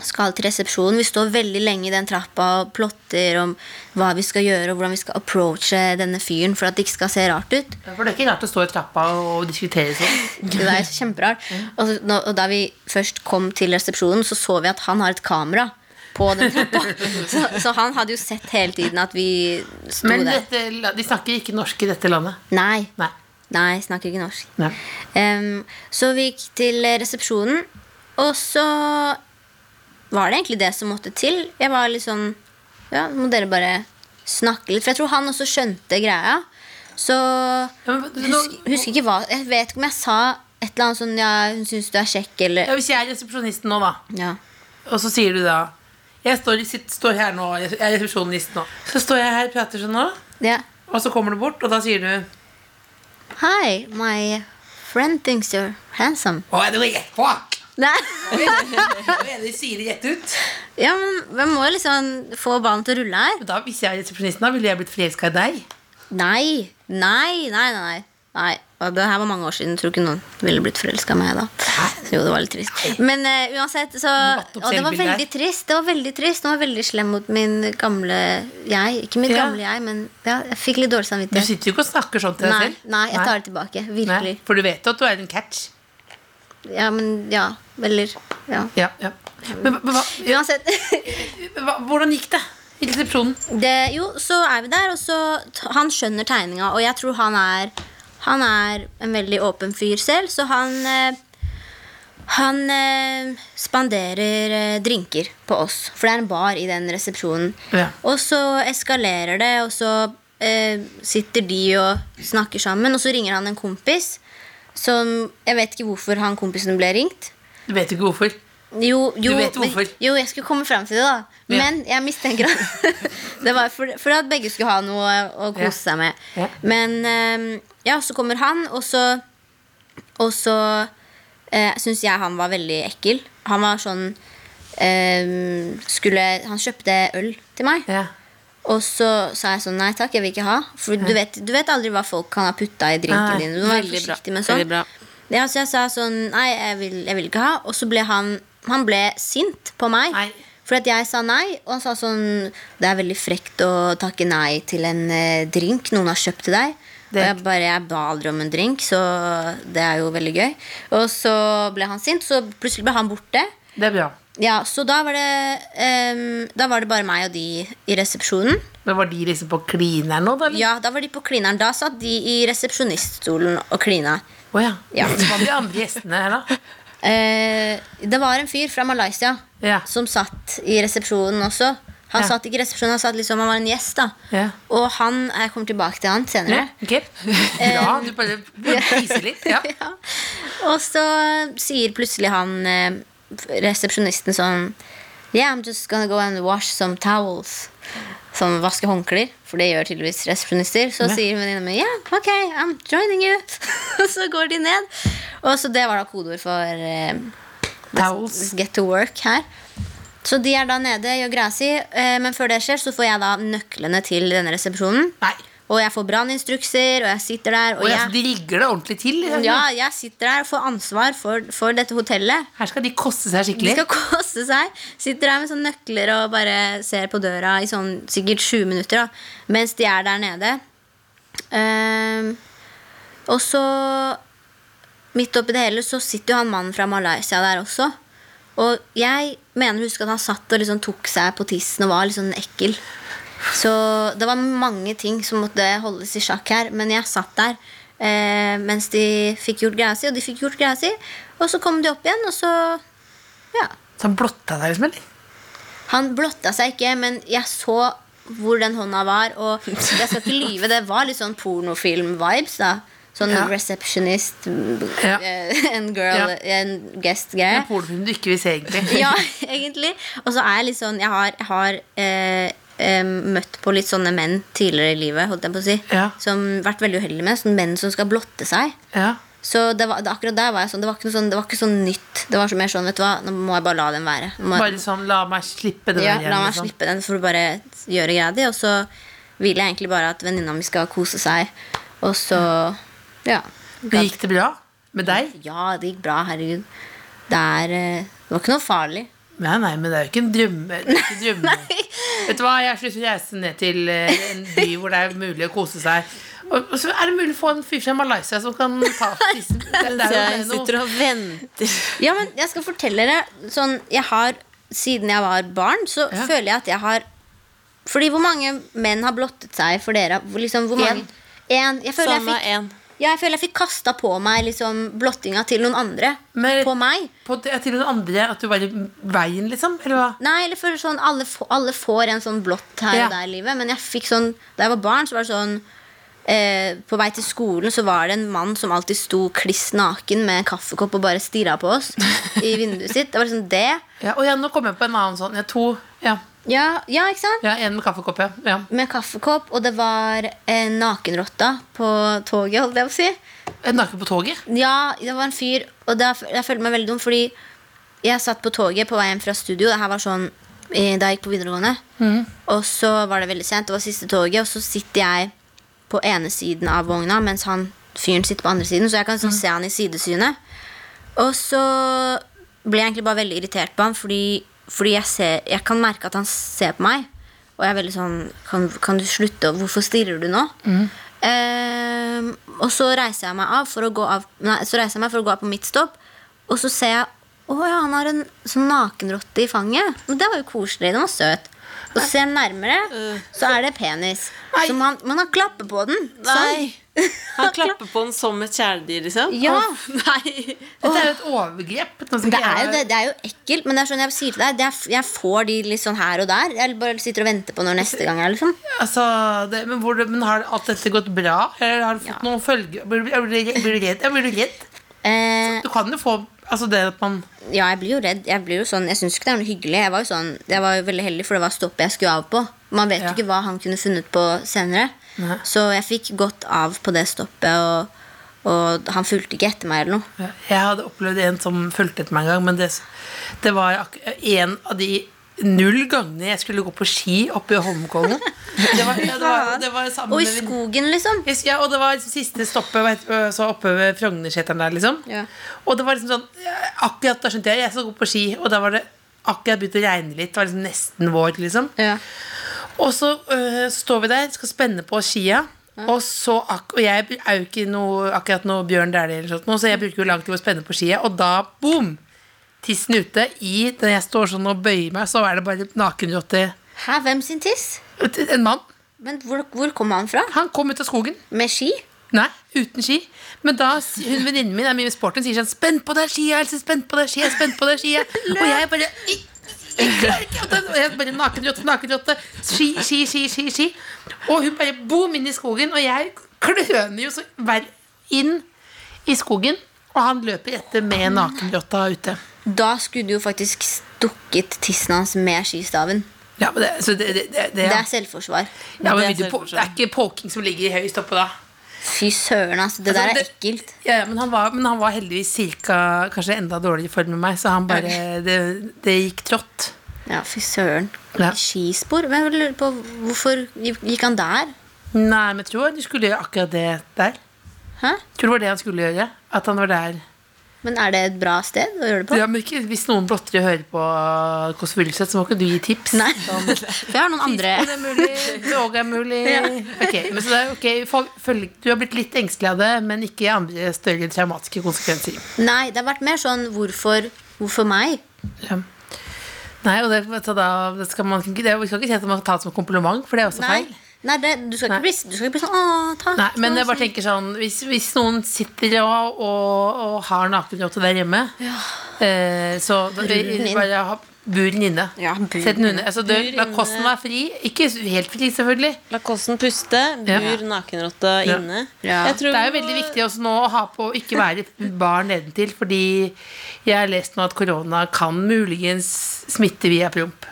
[SPEAKER 5] skal til resepsjonen. Vi står veldig lenge i den trappa og plotter om hva vi skal gjøre, og hvordan vi skal approache denne fyren for at det ikke skal se rart ut.
[SPEAKER 4] For det er ikke rart å stå i trappa og diskutere sånn.
[SPEAKER 5] Det er jo kjemperart. Og, så, nå- og da vi først kom til resepsjonen, så så vi at han har et kamera på den trappa. Så, så han hadde jo sett hele tiden at vi sto
[SPEAKER 4] Men
[SPEAKER 5] der.
[SPEAKER 4] dette, la- de snakker ikke norsk i dette landet.
[SPEAKER 5] Nei.
[SPEAKER 4] Nei.
[SPEAKER 5] Nei, snakker ikke norsk.
[SPEAKER 4] Nei.
[SPEAKER 5] Em, så vi gikk til resepsjonen, og så var det egentlig det som måtte til. Jeg var litt sånn Ja, må dere bare snakke litt. For jeg tror han også skjønte greia. Så
[SPEAKER 4] Ja, men nå-
[SPEAKER 5] husker, husker ikke hva Jeg vet ikke om jeg sa et eller annet sånn ja, 'Hun syns du er kjekk', eller
[SPEAKER 4] Ja, hvis jeg er resepsjonisten nå, da,
[SPEAKER 5] Ja.
[SPEAKER 4] og så sier du da Jeg står, sitt, står her nå, jeg er resepsjonist nå. Så står jeg her og prater sånn nå,
[SPEAKER 5] ja.
[SPEAKER 4] og så kommer du bort, og da sier du
[SPEAKER 5] Hi, my friend thinks you're handsome.
[SPEAKER 4] Hva er det du Fuck!
[SPEAKER 5] Nei.
[SPEAKER 4] Hva er det du sier rett ut?
[SPEAKER 5] Ja, men man må jo liksom få ballen til å rulle her.
[SPEAKER 4] Men Da, hvis jeg er resepsjonisten, da ville jeg blitt forelska i deg.
[SPEAKER 5] Nei, nei, nei, nei. nei. Nei, og Det her var mange år siden. Tror ikke noen ville blitt forelska i meg da. Jo, det var litt trist. Men eh, uansett, så
[SPEAKER 4] Du måtte opp
[SPEAKER 5] Og det var
[SPEAKER 4] selvbildet her.
[SPEAKER 5] veldig trist. Det var veldig trist. Den var veldig slem mot min gamle jeg. Ikke mitt
[SPEAKER 4] Ja.
[SPEAKER 5] gamle jeg, men ja, jeg fikk litt dårlig
[SPEAKER 4] Du
[SPEAKER 5] samvittighet.
[SPEAKER 4] sitter jo ikke og snakker sånn til deg
[SPEAKER 5] Nei,
[SPEAKER 4] selv.
[SPEAKER 5] nei, jeg tar det tilbake. Virkelig.
[SPEAKER 4] For du vet jo at du er en catch.
[SPEAKER 5] Ja, men ja. Eller ja.
[SPEAKER 4] Ja, ja. Men, hva- hva,
[SPEAKER 5] Uansett.
[SPEAKER 4] hva, hvordan gikk det i resepsjonen?
[SPEAKER 5] det, jo, så er vi der, og så t- Han skjønner tegninga, og jeg tror han er Han er en veldig åpen fyr selv, så han eh, Han eh, spanderer eh, drinker på oss, for det er en bar i den resepsjonen.
[SPEAKER 4] Ja.
[SPEAKER 5] Og så eskalerer det, og så eh, sitter de og snakker sammen, og så ringer han en kompis som Jeg vet ikke hvorfor han kompisen ble ringt.
[SPEAKER 4] Du vet jo ikke hvorfor.
[SPEAKER 5] Jo, jo,
[SPEAKER 4] vet
[SPEAKER 5] men-
[SPEAKER 4] hvorfor.
[SPEAKER 5] Jo, jeg skulle komme frem til det, da.
[SPEAKER 4] Ja.
[SPEAKER 5] Men jeg mistenker at det var for, for at begge skulle ha noe å
[SPEAKER 4] Ja.
[SPEAKER 5] kose seg med.
[SPEAKER 4] Ja.
[SPEAKER 5] Men ehm, ja, så kommer han, og så Og så eh, syns jeg han var veldig ekkel. Han var sånn ehm, Skulle Han kjøpte øl til meg.
[SPEAKER 4] Ja.
[SPEAKER 5] Og så sa jeg sånn nei takk, jeg vil ikke ha. For du vet, du vet aldri hva folk kan ha putta i
[SPEAKER 4] Nei,
[SPEAKER 5] drinken din. Du må være
[SPEAKER 3] veldig bra,
[SPEAKER 5] forsiktig med sånn.
[SPEAKER 3] veldig bra.
[SPEAKER 5] Ja, så jeg sa sånn nei, jeg vil, jeg vil ikke ha. Og så ble han han ble sint på meg.
[SPEAKER 4] Nei.
[SPEAKER 5] For at jeg sa nei, og han sa sånn Det er veldig frekt å takke nei til en eh, drink noen har kjøpt til deg.
[SPEAKER 4] Det-
[SPEAKER 5] Og jeg bare, jeg ba aldri om en drink, så det er jo veldig gøy. Og så ble han sint, så plutselig ble han borte.
[SPEAKER 4] Det er bra.
[SPEAKER 5] Ja, så da var det ehm, Da var det bare meg og de i resepsjonen.
[SPEAKER 4] Men var de liksom på klineren nå, da? eller?
[SPEAKER 5] Ja, da var de på klineren. Da satt de i resepsjoniststolen og klina.
[SPEAKER 4] Å ja.
[SPEAKER 5] Ja.
[SPEAKER 4] Hva med de andre gjestene her, da?
[SPEAKER 5] Eh, det var en fyr fra Malaysia
[SPEAKER 4] Ja.
[SPEAKER 5] som satt i resepsjonen også. Han
[SPEAKER 4] Ja.
[SPEAKER 5] satt ikke i resepsjonen, han satt liksom, han var en gjest. da
[SPEAKER 4] Ja.
[SPEAKER 5] Og han, jeg kommer tilbake til han senere.
[SPEAKER 4] Ok. Bra. Du bare viser litt. Ja.
[SPEAKER 5] Ja. Og så sier plutselig han eh, resepsjonisten sånn Yeah, I'm just gonna go and wash some towels. Som vaske håndklær, for det gjør tydeligvis resepsjonister. Så sier venninna mi yeah, ok, I'm joining you. Og så går de ned. Og så det var da kodeord for eh,
[SPEAKER 4] Towels.
[SPEAKER 5] Get to work her. Så de er da nede, gjør greia si. eh, Men før det skjer, så får jeg da nøklene til denne resepsjonen.
[SPEAKER 4] Nei.
[SPEAKER 5] Og jeg får branninstrukser, og jeg sitter der. Og
[SPEAKER 4] Og
[SPEAKER 5] jeg,
[SPEAKER 4] altså, de rigger det ordentlig til.
[SPEAKER 5] ja, jeg sitter der og får ansvar for, for dette hotellet.
[SPEAKER 4] Her skal de koste seg
[SPEAKER 5] De
[SPEAKER 4] skikkelig.
[SPEAKER 5] skal kose seg. Sitter der med sånne nøkler og bare ser på døra i sånn sikkert 20 minutter da, mens de er der nede. Ehm, og så, midt oppi det hele, så sitter jo han mannen fra Malaysia der også. Og jeg mener å huske at han satt og liksom tok seg på tissen og var litt sånn ekkel. Så det var mange ting som måtte holdes i sjakk her, men jeg satt der eh, mens de fikk gjort greia si, og de fikk gjort greia si. Og så kom de opp igjen, og så ja.
[SPEAKER 4] Så han blotta deg liksom, eller?
[SPEAKER 5] Han blotta seg ikke, men jeg så hvor den hånda var. Og jeg skal ikke lyve, det var litt sånn pornofilm-vibes. da Sånn
[SPEAKER 4] Ja.
[SPEAKER 5] receptionist
[SPEAKER 4] Ja.
[SPEAKER 5] eh, and girl
[SPEAKER 4] Ja.
[SPEAKER 5] and
[SPEAKER 4] Det
[SPEAKER 5] guest-greie.
[SPEAKER 4] er pornofilm du ikke vil se, egentlig.
[SPEAKER 5] Ja, egentlig. Og så er jeg litt sånn Jeg har, jeg har eh, eh, møtt på litt sånne menn tidligere i livet, holdt jeg på å si.
[SPEAKER 4] Ja.
[SPEAKER 5] Som vært veldig uheldig med. Sånne menn som skal blotte seg.
[SPEAKER 4] Ja.
[SPEAKER 5] Så det var, det, akkurat der var jeg sånn det var, ikke noe sånn det var ikke sånn nytt. Det var så mer sånn, vet du hva, nå må jeg bare la den være. Nå Må,
[SPEAKER 4] Bare sånn, la meg slippe det
[SPEAKER 5] ja,
[SPEAKER 4] der. igjen,
[SPEAKER 5] la meg
[SPEAKER 4] liksom.
[SPEAKER 5] slippe den for å bare gjøre greia di. Og så vil jeg egentlig bare at venninna mi skal kose seg. Og så Ja.
[SPEAKER 4] Men gikk det bra med deg?
[SPEAKER 5] Ja, det gikk bra. Herregud. Det er eh, Det var ikke noe farlig.
[SPEAKER 4] Nei, nei, men det er jo ikke en drømme. det er Ikke en drømme. Vet du hva, jeg har lyst til å reise ned til eh, en by hvor det er mulig å kose seg. Og og så er det mulig å få en fyr fra Malaysia som kan ta disse det,
[SPEAKER 3] Så
[SPEAKER 4] det er
[SPEAKER 3] jeg
[SPEAKER 4] jo noe.
[SPEAKER 3] sitter og venter.
[SPEAKER 5] Ja, men jeg skal fortelle dere sånn, jeg har, Siden jeg var barn, så
[SPEAKER 4] Ja.
[SPEAKER 5] føler jeg at jeg har Fordi hvor mange menn har blottet seg for dere? Hvor, liksom, hvor mange? En. Jeg føler jeg
[SPEAKER 3] Samme
[SPEAKER 5] fikk,
[SPEAKER 3] en.
[SPEAKER 5] ja, jeg føler jeg fikk kasta på meg liksom, blottinga til noen andre.
[SPEAKER 4] Men-
[SPEAKER 5] På meg.
[SPEAKER 4] På, ja, til den andre at du bare veien, liksom? Eller hva?
[SPEAKER 5] Nei, eller for sånn, alle, få, alle får en sånn blått her
[SPEAKER 4] Ja.
[SPEAKER 5] og der i livet. Men jeg fikk sånn, da jeg var barn, så var det sånn eh, På vei til skolen så var det en mann som alltid sto kliss naken med en kaffekopp og bare stirra på oss i vinduet sitt. Det var liksom det.
[SPEAKER 4] Ja, og ja, nå kom jeg på en annen sånn. Ja, to. Ja,
[SPEAKER 5] Ja, ja ikke sant?
[SPEAKER 4] ja en med kaffekopp, ja. ja.
[SPEAKER 5] Med kaffekopp, og det var en nakenrotta på toget, holdt jeg på å si.
[SPEAKER 4] En naken på toget.
[SPEAKER 5] Ja, det var en fyr, og da, jeg følte meg veldig dum, fordi jeg satt på toget på vei hjem fra studio. Det her var sånn eh, da jeg gikk på videregående. Og så var det veldig sent, det var siste toget, og så sitter jeg på ene siden av vogna, mens han fyren sitter på andre siden, så jeg kan sånn se han i sidesynet. Og så ble jeg egentlig bare veldig irritert på han, fordi, fordi jeg, ser, jeg kan merke at han ser på meg. Og jeg er veldig sånn Kan, kan du slutte? og Hvorfor stirrer du nå? Ehm, og så reiser jeg meg av for å gå av Nei, så reiser jeg meg for å gå av på mitt stopp, og så ser jeg å ja, han har en sånn nakenrotte i fanget. Men det var jo koselig. Den var søt. Og ser jeg nærmere, så er det penis. Som han, men han klapper på den. Sånn.
[SPEAKER 3] Nei. Han klapper på den som et kjæledyr, liksom?
[SPEAKER 5] Ja.
[SPEAKER 3] Åh, nei.
[SPEAKER 4] Dette er jo et overgrep. Nå skal
[SPEAKER 5] Det
[SPEAKER 4] ikke
[SPEAKER 5] er jo,
[SPEAKER 4] jeg-
[SPEAKER 5] det, det er jo ekkelt, men det er sånn jeg sier til deg det er, jeg får de litt sånn her og der. Jeg bare sitter og venter på når neste gang er. liksom
[SPEAKER 4] Altså, det, men, hvor, men har alt dette gått bra? Eller har du fått noen følger? Blir, du- blir, du- blir du redd? Ja, blir du redd?
[SPEAKER 5] eh,
[SPEAKER 4] Du kan jo få altså det at man
[SPEAKER 5] Ja, jeg blir jo redd. Jeg blir jo sånn, jeg syns ikke det er noe hyggelig. Jeg var jo sånn, jeg var jo veldig heldig, for det var stoppet jeg skulle av på. Man vet
[SPEAKER 4] Ja.
[SPEAKER 5] jo ikke hva han kunne funnet på senere.
[SPEAKER 4] Nei.
[SPEAKER 5] Så jeg fikk gått av på det stoppet, og, og han fulgte ikke etter meg eller noe.
[SPEAKER 4] Jeg hadde opplevd en som fulgte etter meg en gang, men det, det var ak en av de null gangene jeg skulle gå på ski oppe i Holmenkollen. Det var, ja, det var, det var sammen
[SPEAKER 5] Og i
[SPEAKER 4] med min-
[SPEAKER 5] skogen, liksom.
[SPEAKER 4] Jeg husker- Ja, og det var liksom siste stoppet vet, du, så oppe ved Frognerseteren der, liksom.
[SPEAKER 5] Ja.
[SPEAKER 4] Og det var liksom sånn eh, Akkurat da skjønte jeg jeg skal gå på ski, og da var det akkurat begynt å regne litt. Det var liksom nesten vår, liksom.
[SPEAKER 5] Ja.
[SPEAKER 4] Og så øh, står vi der, skal spenne på skia. Og, så ak og jeg er jo ikke noe, akkurat noe Bjørn Dæhlie, eller sånt noe, så jeg bruker jo lang tid på å spenne på skia. Og da, boom! Tissen ute. I, når jeg står sånn og bøyer meg, så er det bare nakenrotte.
[SPEAKER 5] Hæ, hvem sin tiss?
[SPEAKER 4] En mann.
[SPEAKER 5] Men hvor, hvor kom han fra?
[SPEAKER 4] Han kom ut av skogen.
[SPEAKER 5] Med ski?
[SPEAKER 4] Nei, uten ski. Men da s- hun venninnen min er mye med sporten, sier sånn 'Spenn på deg skia, Else! Spenn på deg skia! Spenn på deg skia!' Og jeg bare klarer ikke å ta- Og jeg bare nakenrotte, nakenrotte, ski, ski, ski, ski, ski. Og hun bare bom inn i skogen, og jeg kløner jo så hver inn i skogen. Og han løper etter med nakenrotta ute.
[SPEAKER 5] Da skulle du jo faktisk stukket tissen hans med skistaven.
[SPEAKER 4] Ja, men det, så det, det, det, det,
[SPEAKER 5] Det
[SPEAKER 4] ja.
[SPEAKER 5] er selvforsvar.
[SPEAKER 4] Ja, men
[SPEAKER 3] det er
[SPEAKER 4] vil du på, det er ikke poking som ligger høyst oppe da.
[SPEAKER 5] Fy søren, altså. Det
[SPEAKER 4] Altså,
[SPEAKER 5] der er
[SPEAKER 4] det-
[SPEAKER 5] ekkelt.
[SPEAKER 4] Ja, ja, men, han var, men han var heldigvis cirka, kanskje enda dårligere i form enn meg, så han bare, det, det gikk trått.
[SPEAKER 5] Ja, fy søren.
[SPEAKER 4] Ja.
[SPEAKER 5] Skispor? Men jeg lurer på Hvorfor gikk han der?
[SPEAKER 4] Nei, men jeg tror du skulle gjøre akkurat det der.
[SPEAKER 5] Hæ?
[SPEAKER 4] Tror det var det han skulle gjøre. At han var der.
[SPEAKER 5] Men er det et bra sted å gjøre det på?
[SPEAKER 4] Ja, men ikke, hvis noen blottere hører på eh, Kåss Furuseth, så må ikke du gi tips.
[SPEAKER 5] Nei.
[SPEAKER 4] Sånn,
[SPEAKER 5] For jeg har noen andre
[SPEAKER 4] Det er mulig, yoga er mulig. Ok, men så det er ok, folk- følg, Du har blitt litt engstelig av det, men ikke andre større traumatiske konsekvenser.
[SPEAKER 5] Nei, det har vært mer sånn hvorfor, hvorfor meg?
[SPEAKER 4] Ja. Nei, og det, vet du, da, det skal man, ikke- det, vi skal ikke si at man kan ta det som en kompliment, for det er også
[SPEAKER 5] Nei,
[SPEAKER 4] feil.
[SPEAKER 5] nei det, du, skal
[SPEAKER 4] Nei.
[SPEAKER 5] ikke bli, du skal ikke bli sånn Å, takk.
[SPEAKER 4] Nei, men
[SPEAKER 5] det
[SPEAKER 4] jeg
[SPEAKER 5] var
[SPEAKER 4] bare tenker sånn Hvis, hvis noen sitter og, og, og har nakenrotte der hjemme, eh, så da-
[SPEAKER 5] Buren inn.
[SPEAKER 4] bare ha buren inne.
[SPEAKER 5] Ja, buren
[SPEAKER 4] Sett den under. Altså, du,
[SPEAKER 3] Bur
[SPEAKER 4] la
[SPEAKER 3] inne.
[SPEAKER 4] kosten være fri. Ikke helt fri, selvfølgelig.
[SPEAKER 3] La kosten puste.
[SPEAKER 4] Ja.
[SPEAKER 3] Bur nakenrotta
[SPEAKER 4] Ja.
[SPEAKER 3] inne.
[SPEAKER 5] Ja.
[SPEAKER 3] Jeg tror
[SPEAKER 4] Det er jo
[SPEAKER 3] vi må-
[SPEAKER 4] veldig viktig også nå å ha på å ikke være barn nedentil, fordi jeg har lest nå at korona kan muligens smitte via promp.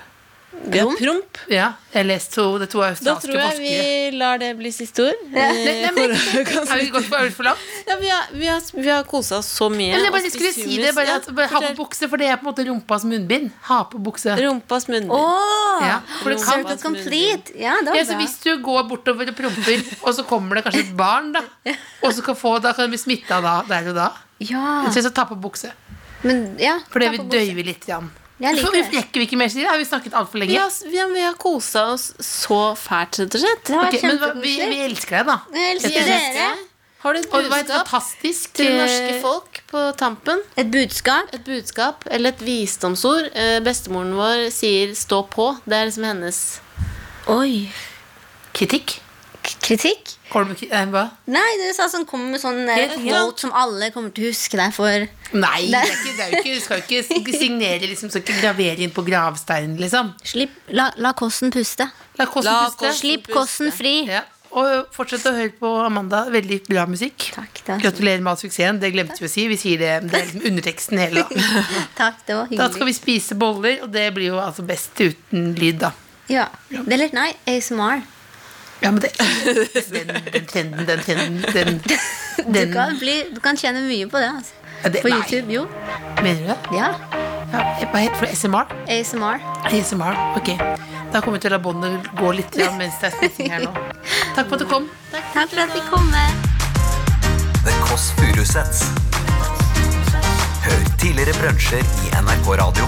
[SPEAKER 3] Vi har promp.
[SPEAKER 4] Ja, jeg har lest to, det er to
[SPEAKER 3] Da
[SPEAKER 4] australske
[SPEAKER 3] tror jeg
[SPEAKER 4] forskere.
[SPEAKER 3] vi lar det bli siste ord.
[SPEAKER 4] Nei,
[SPEAKER 3] Eh,
[SPEAKER 4] nei, men-
[SPEAKER 3] korona kan
[SPEAKER 4] Har vi gått for, har vi for langt?
[SPEAKER 3] Ja, vi har, vi har, vi har kosa oss så mye.
[SPEAKER 4] Men jeg
[SPEAKER 3] og
[SPEAKER 4] bare
[SPEAKER 3] spist
[SPEAKER 4] skulle si
[SPEAKER 3] hummus.
[SPEAKER 4] det, bare
[SPEAKER 3] Ja,
[SPEAKER 4] at, bare, ha på
[SPEAKER 3] fortell.
[SPEAKER 4] bukse, for det er på en måte rumpas munnbind. Ha på bukse.
[SPEAKER 3] Rumpas munnbind.
[SPEAKER 5] Åh,
[SPEAKER 4] Ja, for det kan-
[SPEAKER 5] Circle complete. Ja, det var
[SPEAKER 4] Ja, så
[SPEAKER 5] bra.
[SPEAKER 4] hvis du går bortover og promper, og så kommer det kanskje et barn, da, og så kan, få, da kan du bli smitta da, der og da,
[SPEAKER 5] Ja,
[SPEAKER 4] så, så ta på bukse.
[SPEAKER 5] men ja.
[SPEAKER 4] For det
[SPEAKER 5] ta
[SPEAKER 4] vil
[SPEAKER 5] på buksa.
[SPEAKER 4] døyve litt. Jan.
[SPEAKER 5] Jeg liker
[SPEAKER 4] For vi
[SPEAKER 5] det.
[SPEAKER 4] rekker vi ikke mer, Siri? Har vi snakket altfor lenge?
[SPEAKER 3] Vi har, vi har, vi har kosa oss så fælt, rett og slett.
[SPEAKER 5] Det var
[SPEAKER 4] Ok, men hva- vi,
[SPEAKER 5] kjempekoselig.
[SPEAKER 4] vi elsker deg, da.
[SPEAKER 5] Jeg
[SPEAKER 3] Vi
[SPEAKER 5] elsker
[SPEAKER 3] elsker
[SPEAKER 5] dere.
[SPEAKER 3] deg. Har du et
[SPEAKER 4] Og det var et
[SPEAKER 3] budskap
[SPEAKER 4] fantastisk
[SPEAKER 3] til det norske
[SPEAKER 4] eh,
[SPEAKER 3] folk på tampen?
[SPEAKER 5] Et budskap.
[SPEAKER 3] Et budskap eller et visdomsord? Eh, Bestemoren vår sier 'stå på'. Det er liksom hennes
[SPEAKER 5] Oi.
[SPEAKER 4] Kritikk?
[SPEAKER 5] K- Kritikk?
[SPEAKER 4] Kommer du med kri- nei, hva?
[SPEAKER 5] Nei, du sa sånn kommer med sånn eh,
[SPEAKER 4] Helt ja.
[SPEAKER 5] quote som alle kommer til å huske deg for.
[SPEAKER 4] Nei, det er ikke, det er jo ikke, du skal jo ikke signere, liksom, skal ikke gravere inn på gravsteinen, liksom.
[SPEAKER 5] Slipp, la, la kosten puste.
[SPEAKER 4] La kosten
[SPEAKER 3] La
[SPEAKER 4] puste.
[SPEAKER 3] kosten-
[SPEAKER 5] Slipp
[SPEAKER 3] puste.
[SPEAKER 5] kosten fri.
[SPEAKER 4] Ja. Og fortsett å høre på Amanda. Veldig bra musikk.
[SPEAKER 5] Takk, det var
[SPEAKER 4] Gratulerer med all suksessen. Det glemte vi å si. Vi sier det, det er liksom underteksten hele dagen.
[SPEAKER 5] Takk, det var hyggelig.
[SPEAKER 4] Da skal vi spise boller, og det blir jo altså best uten lyd, da.
[SPEAKER 5] Ja. Eller nei, ASMR.
[SPEAKER 4] Ja, men det Den, den trenden, den trenden, den,
[SPEAKER 5] Du
[SPEAKER 4] den
[SPEAKER 5] kan, bli, du kan tjene mye på det. Altså.
[SPEAKER 4] Ja, det-
[SPEAKER 5] På
[SPEAKER 4] nei.
[SPEAKER 5] YouTube, jo.
[SPEAKER 4] Mener du det?
[SPEAKER 5] Ja.
[SPEAKER 4] Ja, hva heter det? SMR?
[SPEAKER 5] ASMR.
[SPEAKER 4] ASMR, ok. Da kommer vi til å la båndet gå litt grann mens det er spising her nå. Takk for at du kom.
[SPEAKER 5] Takk for at vi kom. Med.
[SPEAKER 2] The Kåss Furuseths. Hør tidligere brunsjer i NRK Radio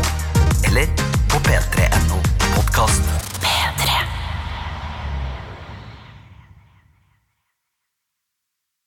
[SPEAKER 2] eller på p3.no podkast.